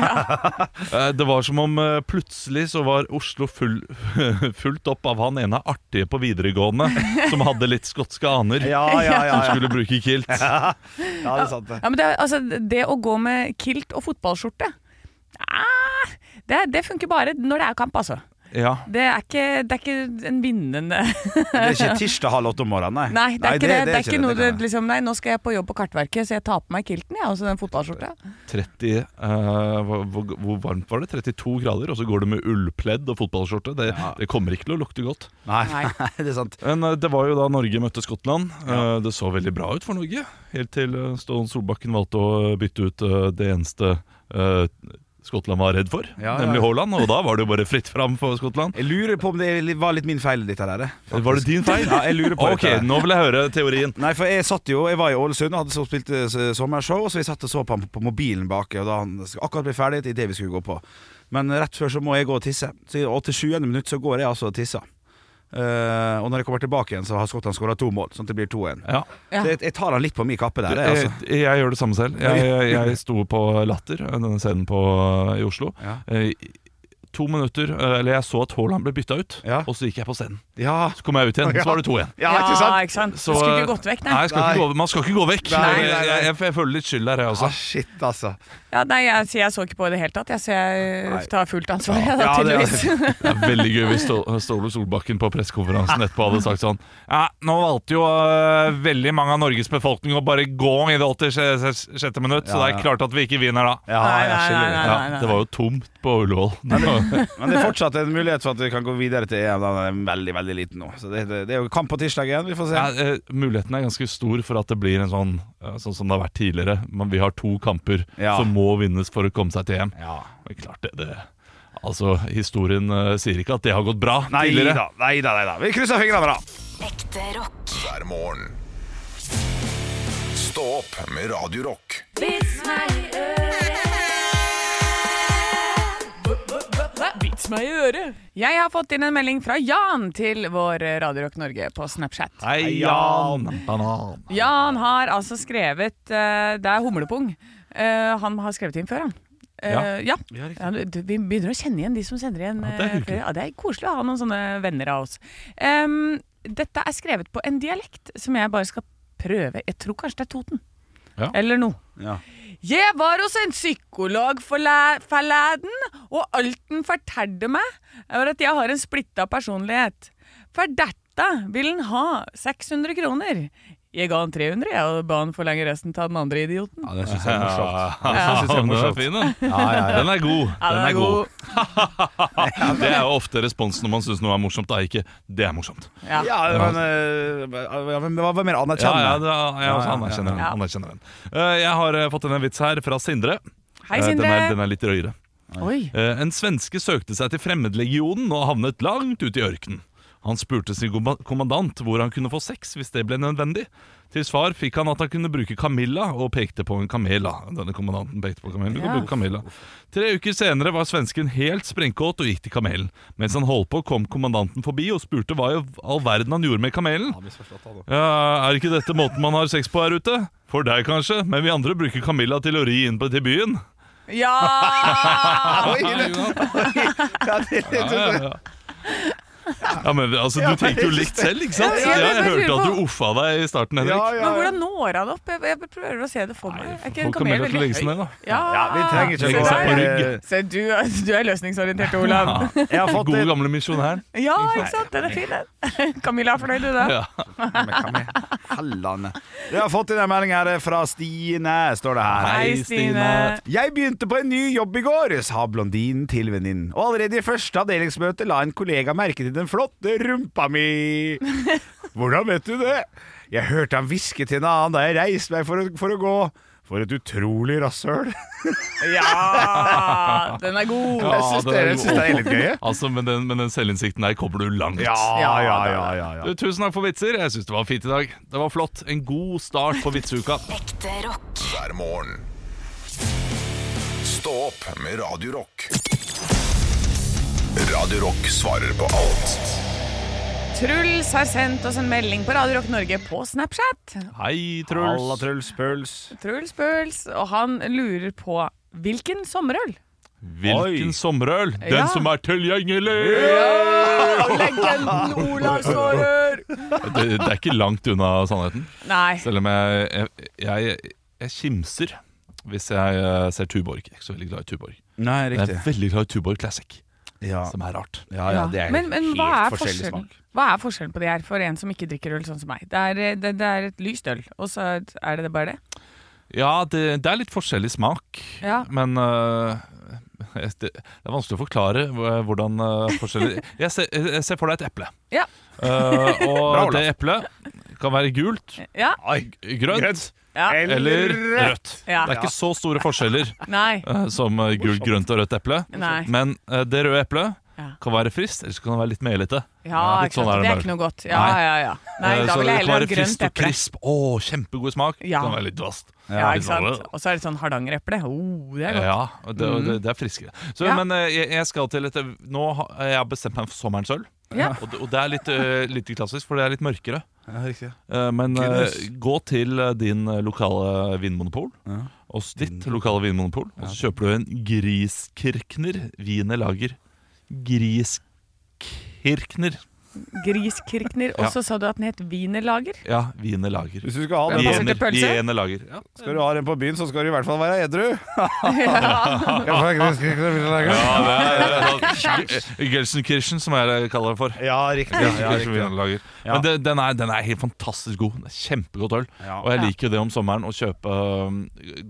Speaker 2: Eh, det var som om eh, plutselig så var Oslo full, fullt opp av han ene artige på videregående som hadde litt skotske aner.
Speaker 4: Ja, ja, ja.
Speaker 2: Som
Speaker 4: ja.
Speaker 2: skulle bruke kilt.
Speaker 4: ja det er sant, det.
Speaker 3: Ja, men det, er- altså, det å gå med kilt og fotballskjorte ah, det, det funker bare når det er kamp, altså.
Speaker 2: Ja.
Speaker 3: Det er ikke, det er ikke en vinnende
Speaker 4: Det er ikke tirsdag halv åtte om morgenen, nei.
Speaker 3: Nei, det er ikke det. Det er ikke noe
Speaker 4: kan
Speaker 3: du liksom Nei, nå skal jeg på jobb på Kartverket, så jeg tar på meg kilten, jeg, og så den fotballskjorta.
Speaker 2: 30 eh, hvor, hvor- hvor varmt var det? 32 grader, og så går du med ullpledd og fotballskjorte. Det, det kommer ikke til å lukte godt.
Speaker 4: jeg. Nei, det er sant.
Speaker 2: Men eh, det var jo da Norge møtte Skottland. Eh, Det så veldig bra ut for Norge. Helt til eh, Ståle Solbakken valgte å bytte ut eh, det eneste eh, Skottland var redd for,
Speaker 4: Ja, ja.
Speaker 2: nemlig Haaland. Og da var det jo bare fritt fram for Skottland.
Speaker 4: Jeg lurer på om det var litt min feil, dette der. faktisk.
Speaker 2: Var det din feil?
Speaker 4: Ja, jeg lurer på
Speaker 2: Ok,
Speaker 4: dette.
Speaker 2: nå vil jeg høre teorien.
Speaker 4: Nei, for jeg satt jo, jeg var i Ålesund og hadde så spilt eh, s- sommershow, så jeg satt og så på ham på mobilen bak, og da han sk- akkurat ble ferdig i det vi skulle gå på. Men rett før så må jeg gå og tisse, så i 87. minutt så går jeg altså og tisser. Eh, og når jeg kommer tilbake igjen, så har Skottland skåra to mål, sånn at det blir 2-1.
Speaker 2: Ja. eh,
Speaker 4: Så jeg, jeg tar han litt på min kappe der, det,
Speaker 2: Jeg,
Speaker 4: altså.
Speaker 2: jeg, jeg gjør det samme selv. Jeg, jeg, jeg sto på Latter, denne scenen på, i Oslo.
Speaker 4: Ja.
Speaker 2: Eh, to minutter, eh, eller jeg så at Haaland ble bytta ut,
Speaker 4: Ja.
Speaker 2: og så gikk jeg på scenen.
Speaker 4: Ja,
Speaker 2: Så kom jeg ut igjen, så var det to igjen.
Speaker 4: ja, ikke sant?
Speaker 3: ikke sant?
Speaker 2: Så,
Speaker 3: Du skulle ikke gått vekk, nei.
Speaker 2: Nei, jeg skal
Speaker 4: Nei.
Speaker 2: ikke gå, man skal ikke gå vekk.
Speaker 4: Nei, nei, nei.
Speaker 2: Jeg, jeg, jeg føler litt skyld der, jeg også.
Speaker 4: Ah, shit, altså.
Speaker 3: Ja, nei jeg, så jeg så ikke på i det hele tatt, jeg, så jeg eh,
Speaker 4: Nei.
Speaker 3: tar fullt ansvar, jeg, da,
Speaker 4: Ja, det er-
Speaker 3: tydeligvis.
Speaker 2: Det er veldig gøy hvis Stå- Ståle Solbakken på pressekonferansen etterpå hadde sagt sånn Ja, nå valgte jo øh, veldig mange av Norges befolkning å bare gå i det 86. minutt, så det
Speaker 4: Ja, ja.
Speaker 2: er klart at vi ikke vinner da.
Speaker 4: Ja,
Speaker 3: Nei,
Speaker 4: jeg
Speaker 3: nei,
Speaker 4: skiller
Speaker 3: nei,
Speaker 4: det.
Speaker 3: nei.
Speaker 2: Ja, det var jo tomt på Ullevål.
Speaker 4: Men det er fortsatt en mulighet for at vi kan gå videre til EM. Den er veldig, veldig liten nå. Så det, det, det er jo kamp på tirsdag igjen. Vi får se.
Speaker 2: Ja, eh, muligheten er ganske stor for at det blir en sånn eh, Sånn som det har vært tidligere. Men vi har to kamper
Speaker 4: Ja.
Speaker 2: som må vinnes for å komme seg til EM.
Speaker 4: Ja.
Speaker 2: Men klart det, det Altså, historien eh, sier ikke at det har gått bra
Speaker 4: Nei
Speaker 2: tidligere.
Speaker 4: da, nei da, nei da. Vi krysser fingrene, da.
Speaker 7: Ekte rock.
Speaker 1: hver morgen. Stå opp med Radio Rock.
Speaker 3: Vits meg i øret. Jeg har fått inn en melding fra Jan til vår eh, Radio Rock Norge på Snapchat.
Speaker 2: Hei, Jan! Banan.
Speaker 3: Jan har altså skrevet eh, Det er humlepung. Eh, han har skrevet inn før, han. Eh, ja. Ja, du- du- vi begynner å kjenne igjen de som sender igjen.
Speaker 2: Ja, det er
Speaker 3: eh,
Speaker 2: hyggelig.
Speaker 3: flere. Ja, det er koselig å ha noen sånne venner av oss. Em, dette er skrevet på en dialekt som jeg bare skal prøve. Jeg tror kanskje det er Toten.
Speaker 2: Ja.
Speaker 3: Eller noe.
Speaker 4: Ja.
Speaker 3: Jeg var hos en psykolog forle- forleden, og alt den fortalte meg, var at jeg har en splitta personlighet. For dette vil han ha 600 kroner. Jeg ga han 300 jeg, og ba han forlenge resten til den andre idioten.
Speaker 4: Ja, det syns jeg er morsomt.
Speaker 2: Ja,
Speaker 4: synes jeg er
Speaker 2: den er
Speaker 4: morsomt.
Speaker 2: fin, den.
Speaker 4: Ja, ja, ja.
Speaker 2: Den er god.
Speaker 3: Ja,
Speaker 2: Den er god. Det er jo ofte responsen når man syns noe er morsomt. Da ikke 'det er morsomt'.
Speaker 3: Ja.
Speaker 4: Ja, men, eh, ja, men hva var mer
Speaker 2: Ja, ja,
Speaker 4: anerkjennende?
Speaker 2: det er, jeg også
Speaker 4: Ja, ja,
Speaker 2: anerkjenner den.
Speaker 3: ja.
Speaker 2: Anerkjenner den. Eh, Jeg har eh, fått inn en vits her fra Sindre.
Speaker 3: Hei,
Speaker 2: Eh, Den er, den
Speaker 3: Sindre.
Speaker 2: er litt røyere.
Speaker 3: Oi.
Speaker 2: Eh, En svenske søkte seg til Fremmedlegionen og havnet langt ute i ørkenen. Han spurte sin komma- kommandant hvor han kunne få sex hvis det ble nødvendig. Til svar fikk han at han kunne bruke Camilla, og pekte på en kamel. da. Denne kommandanten pekte på kamelen. Du kan
Speaker 3: Ja.
Speaker 2: bruke Camilla. Tre uker senere var svensken helt sprengkåt og gikk til kamelen. Mens han holdt på, kom kommandanten forbi og spurte hva i all verden han gjorde med kamelen. Ja, er ikke dette måten man har sex på her ute? For deg kanskje, men vi andre bruker Camilla til å ri inn på til byen.
Speaker 3: Ja!
Speaker 4: Oi, det- ja, det-
Speaker 2: Ja,
Speaker 4: det-
Speaker 2: ja, ja. ja, men altså, du tenker jo litt selv, ikke sant? Ja,
Speaker 3: Ja, ja, det
Speaker 2: jeg
Speaker 3: er
Speaker 2: hørte at
Speaker 3: på.
Speaker 2: du uffa deg i starten,
Speaker 4: ja,
Speaker 2: Henrik.
Speaker 4: ja,
Speaker 3: Men
Speaker 4: ja.
Speaker 3: hvordan når han opp? Jeg, jeg prøver å se det for meg. Er ikke
Speaker 2: Få
Speaker 3: en kamel
Speaker 2: Camilla til å legge
Speaker 3: veldig
Speaker 2: seg
Speaker 3: høy?
Speaker 2: ned, da.
Speaker 4: Ja, vi trenger
Speaker 3: Se
Speaker 4: ikke
Speaker 2: Legge seg på
Speaker 3: der.
Speaker 2: rygg.
Speaker 4: gå
Speaker 3: Se, du, du er løsningsorientert, Olav.
Speaker 2: Ja.
Speaker 4: eh, Jeg har fått
Speaker 2: Gode,
Speaker 4: en
Speaker 2: gamle misjonæren.
Speaker 3: Ja, ikke sant? Den er fin, den. Camilla er fornøyd, du da?
Speaker 2: Ja.
Speaker 4: Men hva med Halland? Jeg har fått inn en melding her eh, fra Stine, står det her.
Speaker 3: Hei, Stine.
Speaker 4: Jeg begynte på en ny jobb i går, sa blondinen til venninnen. Og allerede i første avdelingsmøte la en kollega merke til den flotte rumpa mi. Hvordan vet du det? Jeg hørte han hviske til en annen da jeg reiste meg for å, for å gå. For et utrolig rasshøl.
Speaker 3: Ja, den er god.
Speaker 4: Jeg syns
Speaker 2: den
Speaker 4: det,
Speaker 2: er
Speaker 4: jeg synes det er litt gøy. jeg.
Speaker 2: Altså, men den, men den selvinnsikten der kommer du langt.
Speaker 4: Ja, ja, ja. ja, ja,
Speaker 2: Du, tusen takk for vitser. Jeg syns det var fint i dag. Det var flott. En god start på vitseuka.
Speaker 7: Ekte rock.
Speaker 1: hver morgen. Stå opp med Radio Rock. Radio Rock svarer på alt
Speaker 3: Truls har sendt oss en melding på Radio Rock Norge på Snapchat.
Speaker 2: Hei,
Speaker 4: Halla,
Speaker 2: Truls.
Speaker 4: Truls Puls.
Speaker 3: Truls Bøhls, og han lurer på hvilken sommerøl?
Speaker 2: Hvilken
Speaker 4: Oi.
Speaker 2: sommerøl! Den
Speaker 3: Ja.
Speaker 2: som er tilgjengelig!
Speaker 3: Legenden Olav Sårer!
Speaker 2: Det, det er ikke langt unna sannheten.
Speaker 3: Nei.
Speaker 2: Selv om jeg, jeg, jeg, jeg kimser hvis jeg eh, ser Tuborg. Jeg er ikke så veldig glad i Tuborg.
Speaker 4: Nei,
Speaker 2: Men Jeg er veldig glad i Tuborg Classic,
Speaker 4: Ja,
Speaker 2: som er rart.
Speaker 4: ja, ja det er
Speaker 3: men, men hva
Speaker 4: helt
Speaker 3: er
Speaker 4: forskjellig
Speaker 3: forskjellen?
Speaker 4: smak.
Speaker 3: Hva er forskjellen på det her for en som ikke drikker øl sånn som meg? Det er, det, det er et lyst øl, og så er det det bare det?
Speaker 2: Ja, det, det er litt forskjellig smak,
Speaker 3: Ja.
Speaker 2: men eh, jeg- det, det er vanskelig å forklare hv- hvordan eh, forskjellig jeg ser, jeg ser for deg et eple.
Speaker 3: Ja.
Speaker 2: Eh, og
Speaker 4: Bra, Olav.
Speaker 2: det eplet kan være gult,
Speaker 3: Ja.
Speaker 2: g- grønt
Speaker 3: ja.
Speaker 2: eller rødt.
Speaker 3: Ja.
Speaker 2: Det er ikke så store forskjeller
Speaker 3: Nei.
Speaker 2: eh, som eh, gult, grønt og rødt eple.
Speaker 3: Nei.
Speaker 2: Men eh, det røde eplet
Speaker 3: Ja.
Speaker 2: kan være friskt, eller så kan det være litt melete.
Speaker 3: Ja,
Speaker 2: litt
Speaker 3: ikke sant?
Speaker 2: sånn er
Speaker 3: det er
Speaker 2: det
Speaker 3: ikke noe godt. Ja,
Speaker 2: Nei.
Speaker 3: ja, ja. Nei,
Speaker 2: Eh, så det
Speaker 3: da vil jeg
Speaker 2: kan
Speaker 3: heller
Speaker 2: være
Speaker 3: ha
Speaker 2: frist
Speaker 3: grønt
Speaker 2: og
Speaker 3: eple.
Speaker 2: krisp. Å, kjempegod smak.
Speaker 3: Ja.
Speaker 2: Kan være litt dvast.
Speaker 3: Ja,
Speaker 2: Litt
Speaker 3: ikke sant?
Speaker 2: sånn.
Speaker 3: Og så er det sånn hardangereple. Oh, det er godt.
Speaker 2: Ja, det, det, det er friskere. Så,
Speaker 3: Mm. Ja.
Speaker 2: Men eh, jeg, jeg skal til et Nå har jeg har bestemt meg for sommerens øl.
Speaker 3: Ja.
Speaker 2: Og, det- og det er litt, eh, litt klassisk, for det er litt mørkere.
Speaker 4: Ja, riktig.
Speaker 2: Eh, men eh,
Speaker 4: Guinness.
Speaker 2: gå til eh, din eh, lokale vinmonopol,
Speaker 4: Ja.
Speaker 2: og s- ditt lokale vinmonopol, og så kjøper du en Griskirkner Wiener Lager. Griskirkner.
Speaker 3: Griskirkner. Og
Speaker 2: Ja.
Speaker 3: så sa du at den het wienerlager.
Speaker 2: Ja, Wienerlager.
Speaker 4: Hvis du skal ha,
Speaker 3: Ja,
Speaker 4: den,
Speaker 3: passer til pølse?
Speaker 2: Wienerlager. Ja.
Speaker 4: skal du ha den på byen, så skal du i hvert fall være edru.
Speaker 2: sånn Gelsenkirchen, som jeg kaller det for.
Speaker 4: Ja, riktig.
Speaker 2: Gelsenkirchen Wienerlager.
Speaker 4: Ja.
Speaker 2: Men det, den, er, den er helt fantastisk god. Den er Kjempegodt øl.
Speaker 4: Ja.
Speaker 2: Og jeg liker jo det om sommeren å kjøpe øh,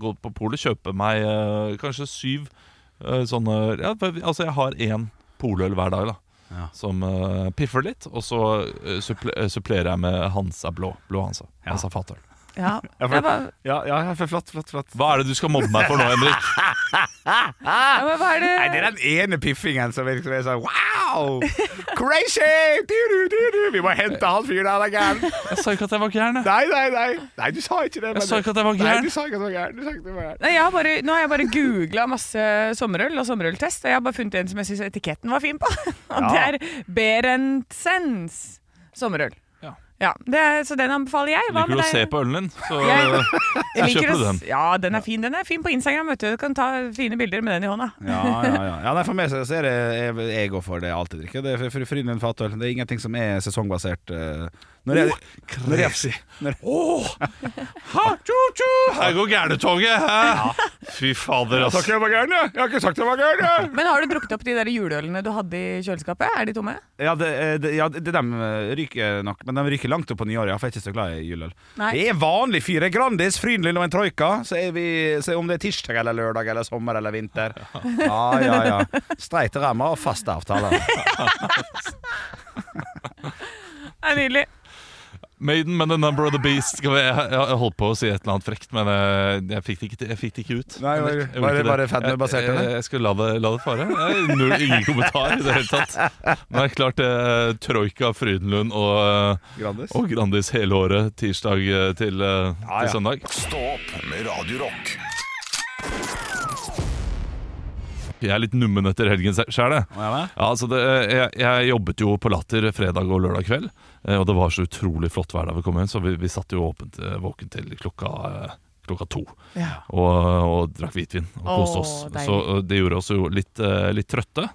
Speaker 2: Gå på polet, kjøpe meg øh, kanskje syv øh, sånne ja, Altså, jeg har én poløl hver dag, da.
Speaker 4: Ja.
Speaker 2: Som øh, piffer litt, og så øh, supple, øh, supplerer jeg med Hansa Blå. Blå Hansa. Hansa Fatøl.
Speaker 3: Ja,
Speaker 4: Ja, for-
Speaker 3: det var,
Speaker 4: Ja, ja, ja, flott, flott, flott.
Speaker 2: Hva er det du skal mobbe meg for nå, Henrik?
Speaker 3: ja, men hva er det
Speaker 4: Nei, det er den ene piffingen som liksom er sånn Wow! Crazy! Du, du, du, du. Vi må hente han fyren der, han er gæren.
Speaker 2: Jeg sa ikke at jeg var gæren. jeg.
Speaker 4: Nei, nei, nei. Nei, du sa ikke det. men-
Speaker 2: Jeg sa ikke at jeg var
Speaker 4: Nei,
Speaker 2: gæren.
Speaker 4: du sa ikke at du var gæren. Du sa ikke at du var gæren.
Speaker 3: Nei, jeg har bare, nå har jeg bare googla masse sommerøl og sommerøltest, og jeg har bare funnet en som jeg syns etiketten var fin på. Og det er Berentsens sommerøl.
Speaker 2: Ja.
Speaker 3: Ja, det er, så den anbefaler jeg. Hva
Speaker 2: Liker du å
Speaker 3: med
Speaker 2: se
Speaker 3: deg?
Speaker 2: på ølen din, så
Speaker 3: Jeg-
Speaker 2: øh,
Speaker 3: Jeg liker
Speaker 2: kjøper
Speaker 3: å
Speaker 2: du
Speaker 3: s- Ja, den er fin. Den er fin på Instagram. vet Du Du kan ta fine bilder med den i hånda.
Speaker 4: Ja, ja, ja. ja nei, for meg så så er det jeg, jeg går for det jeg alltid drikker. Det er fr- frydenlund fatøl. Det er ingenting som er sesongbasert. eh. Når jeg, når jeg, når jeg
Speaker 2: Åh! Ha, tjo, tjo. Her går gærnetoget! hæ? Fy fader, ass.
Speaker 4: jeg var gæren, jeg! Jeg har ikke sagt jeg var gæren, jeg!
Speaker 3: Men har du drukket opp de der juleølene du hadde i kjøleskapet? Er de tomme?
Speaker 4: Ja, det, eh, det, ja, det, dem eh, ryker nok, men de ryker langt opp på nyåret. ja, for Jeg er ikke så glad i juleøl.
Speaker 3: Nei.
Speaker 4: Det er vanlig fire Grandis, Frydenlund og en Troika. Så, er vi, så om det er tirsdag eller lørdag eller sommer eller vinter. Ja, ja, ja. Streite rammer og faste avtaler.
Speaker 3: Det er nydelig.
Speaker 2: Maiden med The Number of the Beast. Skal vi, jeg, jeg holdt på å si et eller annet frekt, men eh, jeg fikk det ikke, til- jeg fikk det ikke ut.
Speaker 4: Nei, var-
Speaker 2: Jeg gjorde
Speaker 4: var det
Speaker 2: ikke
Speaker 4: bare fedmebasert,
Speaker 2: Jeg- Jeg,
Speaker 4: eller?
Speaker 2: jeg skulle la det, la det fare. Jeg, null, ingen kommentar i det hele tatt. Men det er klart eh, Troika, Frydenlund og, eh,
Speaker 4: Grandis.
Speaker 2: og Grandis hele året tirsdag eh, til, eh,
Speaker 4: ja.
Speaker 2: til søndag.
Speaker 1: Stå opp med Radio Rock.
Speaker 2: Jeg er litt nummen etter helgen sjæl, jeg.
Speaker 4: Ja, hva?
Speaker 2: Ja, altså det, jeg, jeg jobbet jo på Latter fredag og lørdag kveld, eh, og det var så utrolig flott vær da vi kom hjem, så vi, vi satt jo åpent eh, våken til klokka, eh, klokka to. Og, og drakk hvitvin og koste
Speaker 8: Åh,
Speaker 2: oss.
Speaker 8: deilig.
Speaker 2: Så eh, det gjorde oss jo litt, eh, litt trøtte.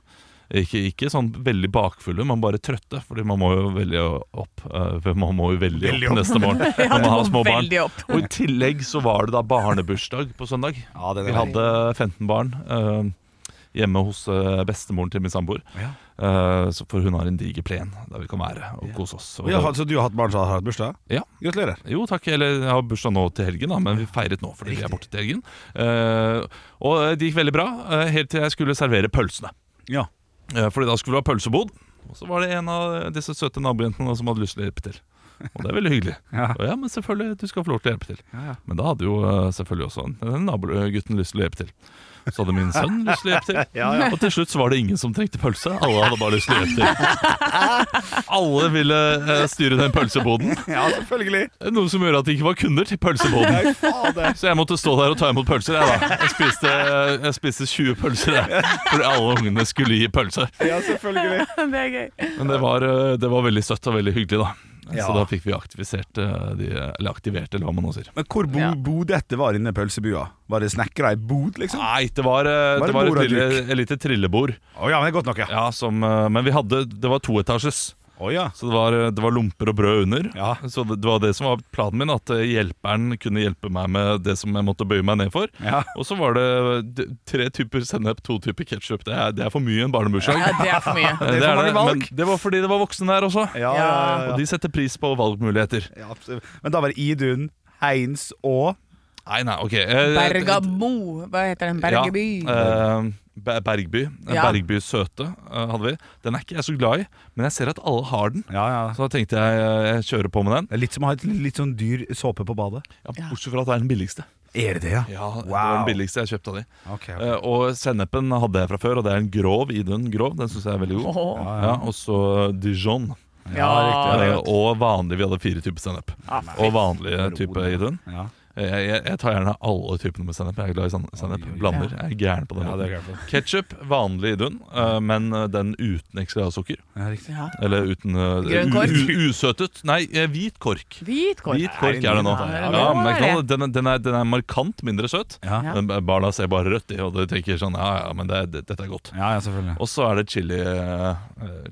Speaker 2: Ikke, ikke sånn veldig bakfulle, men bare trøtte, Fordi man må jo veldig opp. eh, for man må jo veldig,
Speaker 4: Veldig
Speaker 2: opp,
Speaker 4: opp.
Speaker 2: neste morgen når man har små barn.
Speaker 3: Veldig opp.
Speaker 2: Og i tillegg så var det da barnebursdag på søndag.
Speaker 4: Ja, den
Speaker 2: Vi
Speaker 4: er veldig-
Speaker 2: hadde 15 barn eh, hjemme hos eh, bestemoren til min samboer.
Speaker 4: Ja.
Speaker 2: Eh, så- for hun har en diger plen der vi kan være og kose oss. Og,
Speaker 4: Ja, så du har hatt barn som har hatt bursdag?
Speaker 2: Ja.
Speaker 4: Gratulerer.
Speaker 2: Jo takk, eller jeg har bursdag nå til helgen, da, men vi feiret nå fordi vi er borte til helgen. Eh, og det gikk veldig bra, eh, helt til jeg skulle servere pølsene.
Speaker 4: Ja.
Speaker 2: Eh, fordi da skulle vi ha pølsebod. Og så var det en av disse søte nabojentene som hadde lyst til å hjelpe til. Og det er veldig hyggelig.
Speaker 4: Ja.
Speaker 2: Og ja, men selvfølgelig, du skal få lov til å hjelpe til.
Speaker 4: Ja, ja.
Speaker 2: Men da hadde jo eh, selvfølgelig også den nabogutten lyst til å hjelpe til. Så hadde min sønn lyst til å hjelpe til. Og til slutt så var det ingen som trengte pølse. Alle hadde bare lyst til å hjelpe til. Alle ville eh, styre den pølseboden.
Speaker 4: Ja, selvfølgelig.
Speaker 2: Noe som gjorde at det ikke var kunder til pølseboden.
Speaker 4: Nei, fader.
Speaker 2: Så jeg måtte stå der og ta imot pølser. Jeg, da. jeg, spiste, eh, jeg spiste 20 pølser jeg, fordi alle ungene skulle gi pølse.
Speaker 4: Ja, selvfølgelig.
Speaker 3: Det er gøy.
Speaker 2: Men det var, eh, det var veldig søtt og veldig hyggelig, da.
Speaker 4: Ja.
Speaker 2: Så da fikk vi aktivisert eh, de, Eller aktivert, eller hva man nå sier.
Speaker 4: Men hvor bo,
Speaker 3: Ja.
Speaker 4: bodde dette var inne i pølsebua? Var det snekra i bod, liksom? Å
Speaker 2: Nei, det var, eh,
Speaker 4: Var det
Speaker 2: det var et,
Speaker 4: bord og
Speaker 2: lille, et lite trillebord.
Speaker 4: ja, men det er godt nok, ja.
Speaker 2: Ja, som, eh, men vi hadde, det var toetasjes.
Speaker 4: Å ja.
Speaker 2: Så det var, eh, det var lomper og brød under.
Speaker 4: Ja.
Speaker 2: Så det, det var det som var planen min, at eh, hjelperen kunne hjelpe meg med det som jeg måtte bøye meg ned for.
Speaker 4: Ja.
Speaker 2: Og så var det eh, d- tre typer sennep, to typer ketsjup. Det, er- det er for mye i en barnebursdag.
Speaker 3: Ja, det er for mye.
Speaker 2: Eh,
Speaker 4: det er for mange valg.
Speaker 2: Men det var fordi det var voksne der også.
Speaker 4: Ja, ja, ja, ja.
Speaker 2: Og de setter pris på valgmuligheter.
Speaker 4: Ja, absolutt. Men da var det Idun, Heins og
Speaker 2: Nei, nei, ok. eh,
Speaker 8: Bergamo. Hva heter den? Bergeby.
Speaker 2: Ja, eh, Be- Bergby.
Speaker 8: Ja.
Speaker 2: Bergby Søte eh, hadde vi. Den er ikke jeg så glad i, men jeg ser at alle har den.
Speaker 4: Ja, ja.
Speaker 2: Så da tenkte jeg eh, jeg kjører på med den.
Speaker 4: Det er litt som å ha et litt sånn dyr såpe på badet.
Speaker 2: Ja, bortsett fra at det er den billigste.
Speaker 4: Er det det, ja?
Speaker 2: Ja, Det var
Speaker 4: Wow.
Speaker 2: den billigste jeg kjøpte av de.
Speaker 4: Ok, ok.
Speaker 2: Eh, og sennepen hadde jeg fra før, og det er en grov Idun grov. Den syns jeg er veldig god.
Speaker 3: Åh.
Speaker 2: Ja, og så Dijon.
Speaker 4: Ja, riktig.
Speaker 2: Ah, Eh, og vanlig. Vi hadde fire typer sennep. og vanlig type Idun.
Speaker 4: Ja.
Speaker 2: Eh, Jeg, jeg, jeg tar gjerne alle typene med sennep. Jeg er glad i sen- sennep.
Speaker 4: Oi, oi, oi.
Speaker 2: Blander. Jeg er gæren på den.
Speaker 9: Ja, det er
Speaker 2: måten.
Speaker 9: jeg glad for.
Speaker 2: Ketchup, vanlig i dunn, eh, men eh, den uten ekstra sukker.
Speaker 4: Ja, riktig.
Speaker 3: Ja.
Speaker 2: Eller uten eh,
Speaker 3: Grønn kork?
Speaker 2: u- u- Usøtet. Nei, eh, hvit kork.
Speaker 3: Hvit kork.
Speaker 2: Hvit kork er det nå.
Speaker 3: Ja,
Speaker 2: Ja,
Speaker 3: det må
Speaker 2: merk
Speaker 3: være.
Speaker 2: nå, den, er- den, er, den er markant mindre søt.
Speaker 4: Ja.
Speaker 3: Ja.
Speaker 2: Den- Barna ser bare rødt i, og de tenker sånn Ja, ja, men det, det, dette er godt.
Speaker 4: ja, ja, selvfølgelig.
Speaker 2: Og så er det chili eh,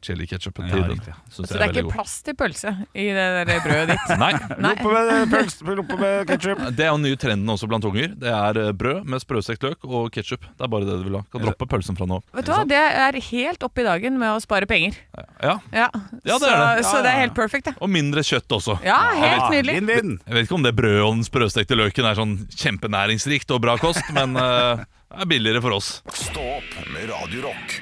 Speaker 2: chili ketchup
Speaker 4: Ja,
Speaker 2: til den.
Speaker 4: riktig, ja.
Speaker 2: Synes jeg
Speaker 3: Så det er
Speaker 2: veldig
Speaker 3: ikke
Speaker 2: god.
Speaker 3: plass til pølse i det der brødet ditt?
Speaker 2: Nei.
Speaker 3: Nei.
Speaker 4: Loppe med eh, pølse, loppe med ketsjup.
Speaker 2: Det er jo den nye trenden også blant unger. Det er eh, brød med sprøstekt løk og ketsjup. Det er bare det du vil ha. Kan droppe pølsen fra nå av.
Speaker 3: Vet du hva, det er helt opp i dagen med å spare penger.
Speaker 2: Ja.
Speaker 3: Ja,
Speaker 2: Ja, det
Speaker 3: så,
Speaker 2: er det.
Speaker 3: Så det er helt perfect, det.
Speaker 2: Og mindre kjøtt også.
Speaker 3: Ja, helt nydelig.
Speaker 4: Vinn-vinn.
Speaker 2: Jeg vet ikke om det brødet og den sprøstekte løken er sånn kjempenæringsrikt og bra kost, men eh, det er billigere for oss.
Speaker 1: Stå opp med Radio Rock.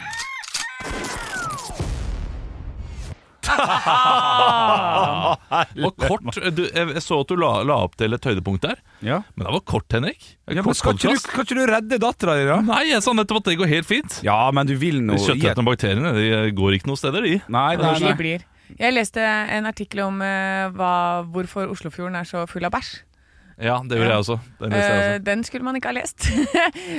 Speaker 2: Og kort, du, jeg så at du la, la opp til et høydepunkt der,
Speaker 4: Ja.
Speaker 2: men det var kort, Henrik.
Speaker 4: Ja, men skal ikke du,
Speaker 2: podcast.
Speaker 4: skal ikke du redde dattera di, da?
Speaker 2: Nei, jeg sa nettopp at det går helt fint.
Speaker 4: Ja, men du vil
Speaker 2: De
Speaker 4: nå
Speaker 2: kjøttetende bakteriene de går ikke noen steder, de.
Speaker 4: Nei, nei,
Speaker 3: De
Speaker 4: nei.
Speaker 3: blir. Jeg leste en artikkel om eh, hva, hvorfor Oslofjorden er så full av bæsj.
Speaker 2: Ja, det gjør jeg også. Det leser jeg
Speaker 3: Eh,
Speaker 2: også.
Speaker 3: den skulle man ikke ha lest.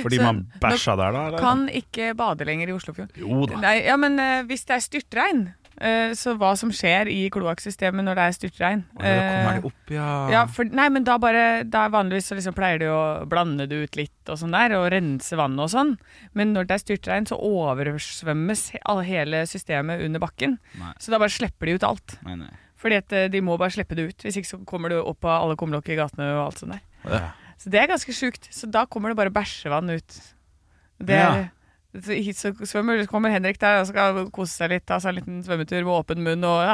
Speaker 9: Fordi
Speaker 3: Så
Speaker 9: man bæsja der, da?
Speaker 3: Nå
Speaker 9: Eller?
Speaker 3: kan ikke bade lenger i Oslofjorden.
Speaker 2: Jo da.
Speaker 3: Nei, ja, men eh, hvis det er styrtregn, eh, så hva som skjer i kloakksystemet når det er styrtregn? Eh,
Speaker 4: Kommer det opp, ja.
Speaker 3: Ja, for, nei, men da bare da Vanligvis så liksom pleier de å blande det ut litt og sånn der, og rense vannet og sånn. Men når det er styrtregn, så oversvømmes he all- hele systemet under bakken.
Speaker 4: Nei.
Speaker 3: Så da bare slipper de ut alt.
Speaker 4: Nei, nei.
Speaker 3: Fordi at eh, de må bare slippe det ut. Hvis ikke så kommer det opp av alle kumlokk i gatene og alt sånt der.
Speaker 2: Ja.
Speaker 3: Så det er ganske sjukt. Så da kommer det bare bæsjevann ut. Det er, så, hit så svømmer, så kommer Henrik der og skal kose seg litt, ta seg en liten svømmetur med åpen munn og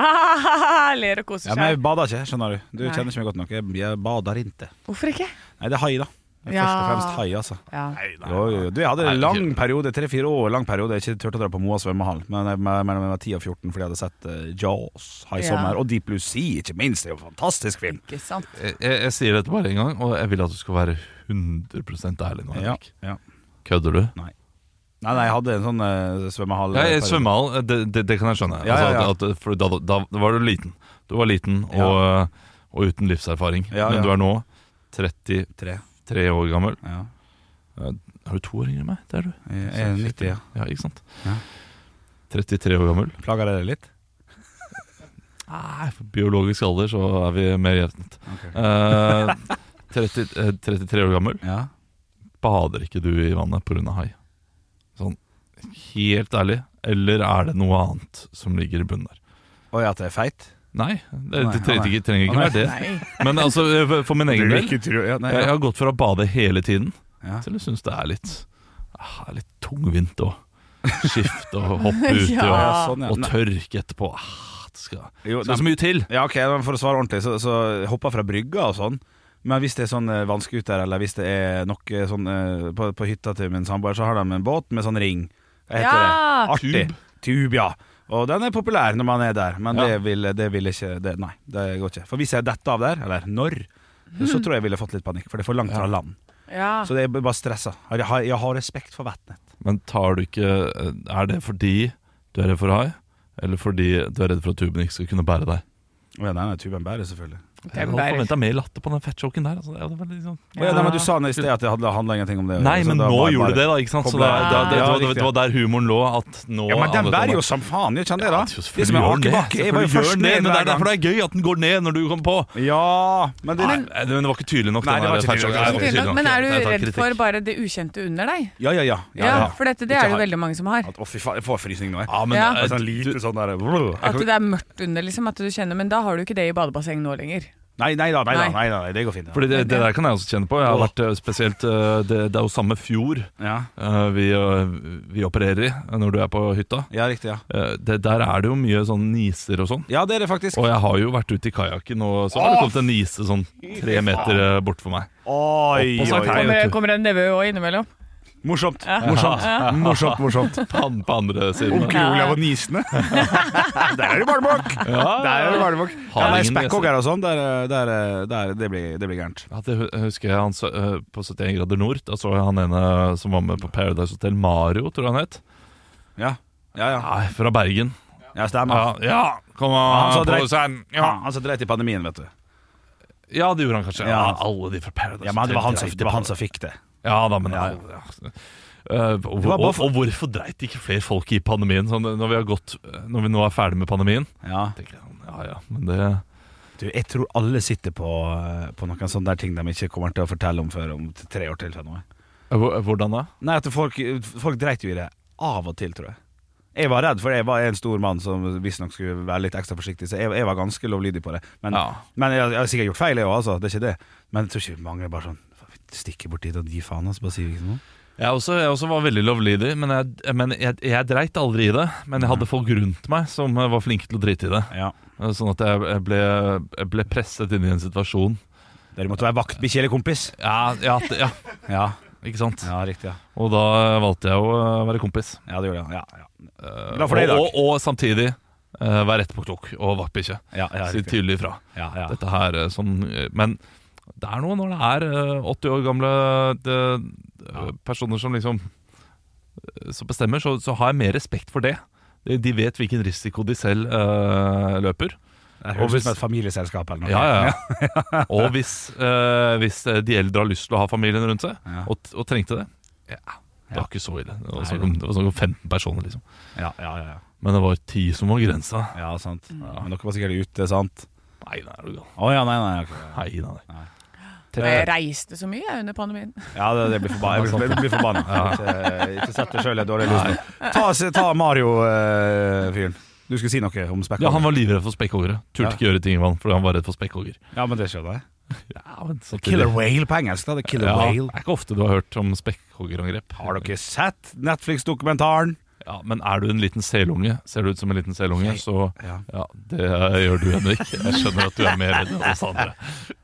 Speaker 3: ler og koser
Speaker 4: Ja,
Speaker 3: seg.
Speaker 4: men jeg bader ikke, skjønner du. Du
Speaker 3: Nei.
Speaker 4: kjenner ikke meg godt nok. Jeg, jeg bader ikke.
Speaker 3: Hvorfor ikke?
Speaker 4: Nei, det er hai, da. Det er
Speaker 3: Ja.
Speaker 4: Først og fremst hai, altså.
Speaker 3: Ja.
Speaker 4: Jo, jo, jo. Du, jeg hadde
Speaker 2: Nei,
Speaker 4: en lang
Speaker 2: ikke-
Speaker 4: periode, tre-fire år lang periode, jeg ikke turte å dra på Moa svømmehall. Men jeg men- men jeg var 10 og 14 fordi jeg hadde sett eh, Jaws High
Speaker 3: Ja.
Speaker 4: Summer og Deep Blue Sea, ikke minst. Det er jo en fantastisk film.
Speaker 3: Ikke sant.
Speaker 2: Jeg, jeg, jeg sier dette bare en gang, og jeg vil at du skal være 100 ærlig nå.
Speaker 4: Ja,
Speaker 2: Henrik.
Speaker 4: ja.
Speaker 2: Kødder du?
Speaker 4: Nei, nei, jeg hadde en sånn eh, svømmehall.
Speaker 2: Ja, jeg svømmehall, det, det, det kan jeg skjønne.
Speaker 4: Ja, ja, ja.
Speaker 2: Altså, at, at, for da, da, da var du liten. Du var liten
Speaker 4: Ja.
Speaker 2: og, og uten livserfaring.
Speaker 4: Ja, ja.
Speaker 2: Men du er nå 33
Speaker 4: Tre.
Speaker 2: år gammel.
Speaker 4: Ja.
Speaker 2: Er du to år yngre enn meg? Det er du.
Speaker 4: Jeg er 90, ja.
Speaker 2: Ja, ikke sant?
Speaker 4: Ja.
Speaker 2: 33 år gammel.
Speaker 4: Plager det deg litt?
Speaker 2: Nei, for biologisk alder så er vi mer jevnt. Eh, 30, eh, 33 år gammel.
Speaker 4: Ja.
Speaker 2: bader ikke du i vannet pga. hai? Sånn helt ærlig. Eller er det noe annet som ligger i bunnen der?
Speaker 4: Og at jeg er feit?
Speaker 2: Nei, det,
Speaker 4: Nei,
Speaker 2: det trenger,
Speaker 4: nei.
Speaker 2: ikke, trenger ikke
Speaker 4: Nei.
Speaker 2: være det. Men altså, for- for min egen del jeg,
Speaker 4: tro ja, nei,
Speaker 2: jeg
Speaker 4: ja.
Speaker 2: har gått for å bade hele tiden
Speaker 4: Ja.
Speaker 2: til jeg syns det er litt, ah, litt tungvint å skifte og hoppe uti
Speaker 4: Ja,
Speaker 2: og,
Speaker 4: ja, sånn, ja.
Speaker 2: og
Speaker 4: Nei,
Speaker 2: tørke etterpå. Ah, det skal,
Speaker 4: jo,
Speaker 2: det
Speaker 4: nei,
Speaker 2: skal så mye til.
Speaker 4: Ja, ok, men For å svare ordentlig, så, så hoppa fra brygga og sånn. Men hvis det er sånn eh, vannskuter, eller hvis det er nok eh, sånn eh, på, på hytta til min samboer, så har de en båt med sånn ring. Hva heter
Speaker 3: Ja,
Speaker 4: det? Artig. Tube. ja. Og den er populær når man er der, men
Speaker 2: Ja.
Speaker 4: det, vil, det vil ikke det, Nei, det går ikke. For hvis jeg detter av der, eller når, så tror jeg jeg ville fått litt panikk, for det er for langt fra land.
Speaker 3: Ja.
Speaker 4: Så det er bare stressa. Jeg har, jeg har respekt for vannet.
Speaker 2: Men tar du ikke eh, Er det fordi du er redd for hai, eller fordi du er redd for at tuben ikke skal kunne bære deg?
Speaker 4: Å Ja, nei, nei, tuben bærer, selvfølgelig.
Speaker 2: Jeg hadde forventa mer latter på den fettjoken der. Altså, det hadde vært litt sånn-
Speaker 4: Å Ja. Nei, men du sa nå i sted at det handla handla ingenting om det.
Speaker 2: Nei,
Speaker 4: Så
Speaker 2: men
Speaker 4: da
Speaker 2: nå
Speaker 4: var jeg
Speaker 2: gjorde
Speaker 4: bare-
Speaker 2: det det, da. ikke sant? Så det,
Speaker 4: Koblet-
Speaker 2: det, det,
Speaker 4: Ja,
Speaker 2: det, var-
Speaker 4: riktig.
Speaker 2: det var der humoren lå. At nå
Speaker 4: Ja, men den
Speaker 2: handlet det om-
Speaker 4: bærer jo som faen, jeg kjenner det da.
Speaker 2: Ja, selvfølgelig
Speaker 4: det som er
Speaker 2: gjør
Speaker 4: artig
Speaker 2: den
Speaker 4: bak, jeg var jo
Speaker 2: Selvfølgelig gjør
Speaker 4: først
Speaker 2: den
Speaker 4: ned
Speaker 2: det, Men det er
Speaker 4: hver
Speaker 2: derfor
Speaker 4: gang.
Speaker 2: det er gøy at den går ned når du kommer på.
Speaker 4: Ja, men det,
Speaker 2: Nei, men det var ikke tydelig nok.
Speaker 4: Nei,
Speaker 2: den
Speaker 4: det var
Speaker 2: der
Speaker 4: ikke tydelig
Speaker 2: fettjoken. Nei, det var
Speaker 3: Ok,
Speaker 4: nok. Det var
Speaker 2: ikke
Speaker 3: men er
Speaker 2: Jeg
Speaker 3: du
Speaker 2: tar
Speaker 3: redd
Speaker 2: kritikk.
Speaker 3: for bare det ukjente under deg?
Speaker 4: ja, ja, ja.
Speaker 3: Ja, For dette, det er
Speaker 4: Ikke
Speaker 3: det jo
Speaker 4: hai.
Speaker 3: veldig mange som har.
Speaker 4: At, å, fy faen, jeg får frysning nå, jeg.
Speaker 2: Ja, men
Speaker 3: Ja.
Speaker 2: eh,
Speaker 4: Det er sånn
Speaker 2: du-
Speaker 4: lite sånn der
Speaker 3: At det er mørkt under, liksom. At du kjenner Men da har du ikke det i badebasseng nå lenger.
Speaker 4: Nei, nei da, nei da,
Speaker 3: Nei.
Speaker 4: nei, da nei, det går fint. Ja.
Speaker 2: Fordi det, det der kan jeg også kjenne på. Jeg har vært eh, spesielt eh, Det, det er jo samme fjord
Speaker 4: Ja.
Speaker 2: eh, vi, eh, vi opererer i eh, når du er på hytta.
Speaker 4: ja, riktig, ja.
Speaker 2: Eh, Det, der er det jo mye sånn niser og sånn.
Speaker 4: Ja, det er det faktisk.
Speaker 2: Og jeg har jo vært ute i kajakken, og så har det kommet en nise sånn tre meter eh, bort for meg.
Speaker 4: Oi,
Speaker 2: Og så
Speaker 4: oi,
Speaker 2: kan
Speaker 4: oi.
Speaker 2: jeg-
Speaker 3: Kommer,
Speaker 2: vet du.
Speaker 3: kommer det en nevø òg innimellom?
Speaker 4: Morsomt.
Speaker 3: Ja.
Speaker 4: Morsomt,
Speaker 3: Ja.
Speaker 4: morsomt. morsomt.
Speaker 2: På an- på andre siden.
Speaker 4: Onkel Olav og nisene. der er det barnebok! Der er det barnebok. Ja, nei,
Speaker 2: Hardingen,
Speaker 4: Spekkhogger og sånn, der, der, der, det, blir, det blir gærent.
Speaker 2: Ja, det hu- husker jeg han så, eh, på 71 grader nord. Da så jeg han ene som var med på Paradise Hotel, Mario, tror jeg han het.
Speaker 4: Ja, ja. ja.
Speaker 2: Nei, fra Bergen.
Speaker 4: ja stemmer.
Speaker 2: Ja, ja kom
Speaker 4: Han
Speaker 2: an,
Speaker 4: sa
Speaker 2: på
Speaker 4: dreit-
Speaker 2: seg.
Speaker 4: Ja,
Speaker 2: Ja.
Speaker 4: han som dreit i pandemien, vet du.
Speaker 2: Ja, det gjorde han kanskje. Ja,
Speaker 4: Ja.
Speaker 2: alle de fra Paradise
Speaker 4: Ja, men det var han som,
Speaker 2: Hotel
Speaker 4: det var
Speaker 2: dreit
Speaker 4: han som fikk det.
Speaker 2: Ja da, men
Speaker 4: Ja, ja.
Speaker 2: alle- ja. Eh, og,
Speaker 4: var bare
Speaker 2: og,
Speaker 4: for-
Speaker 2: og hvorfor dreit ikke flere folk i pandemien? Sånn, når, vi har gått, når vi nå er ferdig med pandemien
Speaker 4: Ja.
Speaker 2: tenker jeg, Ja ja, men det
Speaker 4: Du, jeg tror alle sitter på, eh, på noen sånne der ting de ikke kommer til å fortelle om før om tre år til. eller noe.
Speaker 2: Hvor- Hvordan da?
Speaker 4: Nei, at folk, folk dreit jo i det av og til, tror jeg. Jeg var redd, for jeg var en stor mann som visstnok skulle være litt ekstra forsiktig. Så jeg, jeg var ganske lovlydig på det. Men,
Speaker 2: Ja.
Speaker 4: men jeg, jeg har sikkert gjort feil, jeg òg, altså. Det er ikke det. Men jeg tror ikke mange er bare sånn "Faen, vi stikker bort dit og gir faen, altså. Bare sier vi ikke noe.
Speaker 2: Jeg også, jeg også var veldig lovlydig, men, jeg, men jeg, jeg dreit aldri i det. Men jeg
Speaker 4: Mm.
Speaker 2: hadde folk rundt meg som eh, var flinke til å drite i det.
Speaker 4: Ja.
Speaker 2: Eh, Sånn at jeg, jeg, ble, jeg ble presset inn i en situasjon.
Speaker 4: Dere måtte være vaktbikkje eller kompis.
Speaker 2: Ja, ja, det- ja
Speaker 4: Ja,
Speaker 2: ikke sant?
Speaker 4: ja riktig. Ja.
Speaker 2: Og da valgte jeg å eh, være kompis.
Speaker 4: ja, det gjorde jeg. Ja, ja.
Speaker 2: Eh,
Speaker 4: Glad for det i dag.
Speaker 2: Og, og, og samtidig eh, være rett på klok og vaktbikkje.
Speaker 4: Ja, ja,
Speaker 2: si
Speaker 4: riktig.
Speaker 2: tydelig ifra.
Speaker 4: Ja, ja.
Speaker 2: Dette her eh, som eh, Men det er noe når det er eh, 80 år gamle det, eh, personer som liksom eh, Som bestemmer, så, så har jeg mer respekt for det. De, de vet hvilken risiko de selv eh, løper.
Speaker 4: Det
Speaker 2: Og
Speaker 4: høres
Speaker 2: hvis-
Speaker 4: ut som et familieselskap eller noe.
Speaker 2: Ja, ja, ja. Og hvis, eh, hvis de eldre har lyst til å ha familien rundt seg,
Speaker 4: Ja.
Speaker 2: og, og trengte det ja, Det var
Speaker 4: Ja.
Speaker 2: ikke så ille. Det var
Speaker 4: Nei,
Speaker 2: snakk om- det var snakk om 15 personer, liksom.
Speaker 4: Ja, ja, ja, ja.
Speaker 2: Men det var ti som var grensa.
Speaker 4: Ja, sant. Men dere var sikkert ute, sant?
Speaker 2: Nei, nei, er du gal.
Speaker 4: Å ja, nei, nei. ok.
Speaker 2: Nei, nei, nei.
Speaker 8: Og jeg reiste så mye jeg, under pandemien.
Speaker 4: Ja, det, det blir forbanna. Jeg blir, jeg blir forbanna. Ikke, eh, ikke sett deg sjøl i et dårlig lys nå. Ta, se- ta Mario-fyren. du skulle si noe om
Speaker 2: Ja, han
Speaker 4: spekkhoggeren.
Speaker 2: var livredd for spekkhoggere. Turte
Speaker 4: Ja.
Speaker 2: ikke gjøre ting, mann, fordi han var redd for spekkhogger.
Speaker 4: Ja, men det skjønner jeg.
Speaker 2: Ja, men
Speaker 4: Killer whale på engelsk, da. The killer
Speaker 2: ja, Det
Speaker 4: whale.
Speaker 2: er ikke ofte du har hørt om spekkhoggerangrep.
Speaker 4: Har dere sett Netflix-dokumentaren?
Speaker 2: Ja, men er du en liten selunge, ser du ut som en liten selunge, så
Speaker 4: Ja.
Speaker 2: ja, det gjør du, Henrik. Jeg skjønner at du er mer redd enn oss andre.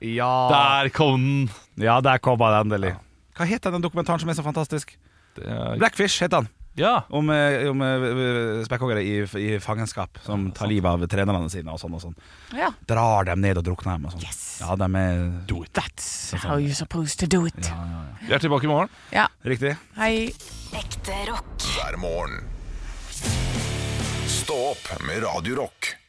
Speaker 4: Ja.
Speaker 2: Der kom den!
Speaker 4: ja, der kom han endelig. Hva heter den dokumentaren som er så fantastisk?
Speaker 2: Det er-
Speaker 4: Blackfish heter han.
Speaker 2: Ja.
Speaker 4: Om, eh, om eh, spekkhoggere i, i fangenskap som tar livet av trenerne sine og sånn og sånn.
Speaker 8: Ja.
Speaker 4: Drar dem ned og drukner dem og sånn. Ja, de er
Speaker 2: Do it.
Speaker 8: That's how you're supposed to do it.
Speaker 2: Vi er tilbake i morgen.
Speaker 8: Ja.
Speaker 4: Riktig.
Speaker 8: Hei.
Speaker 7: Ekte rock.
Speaker 1: hver morgen. Stå opp med Radio Rock.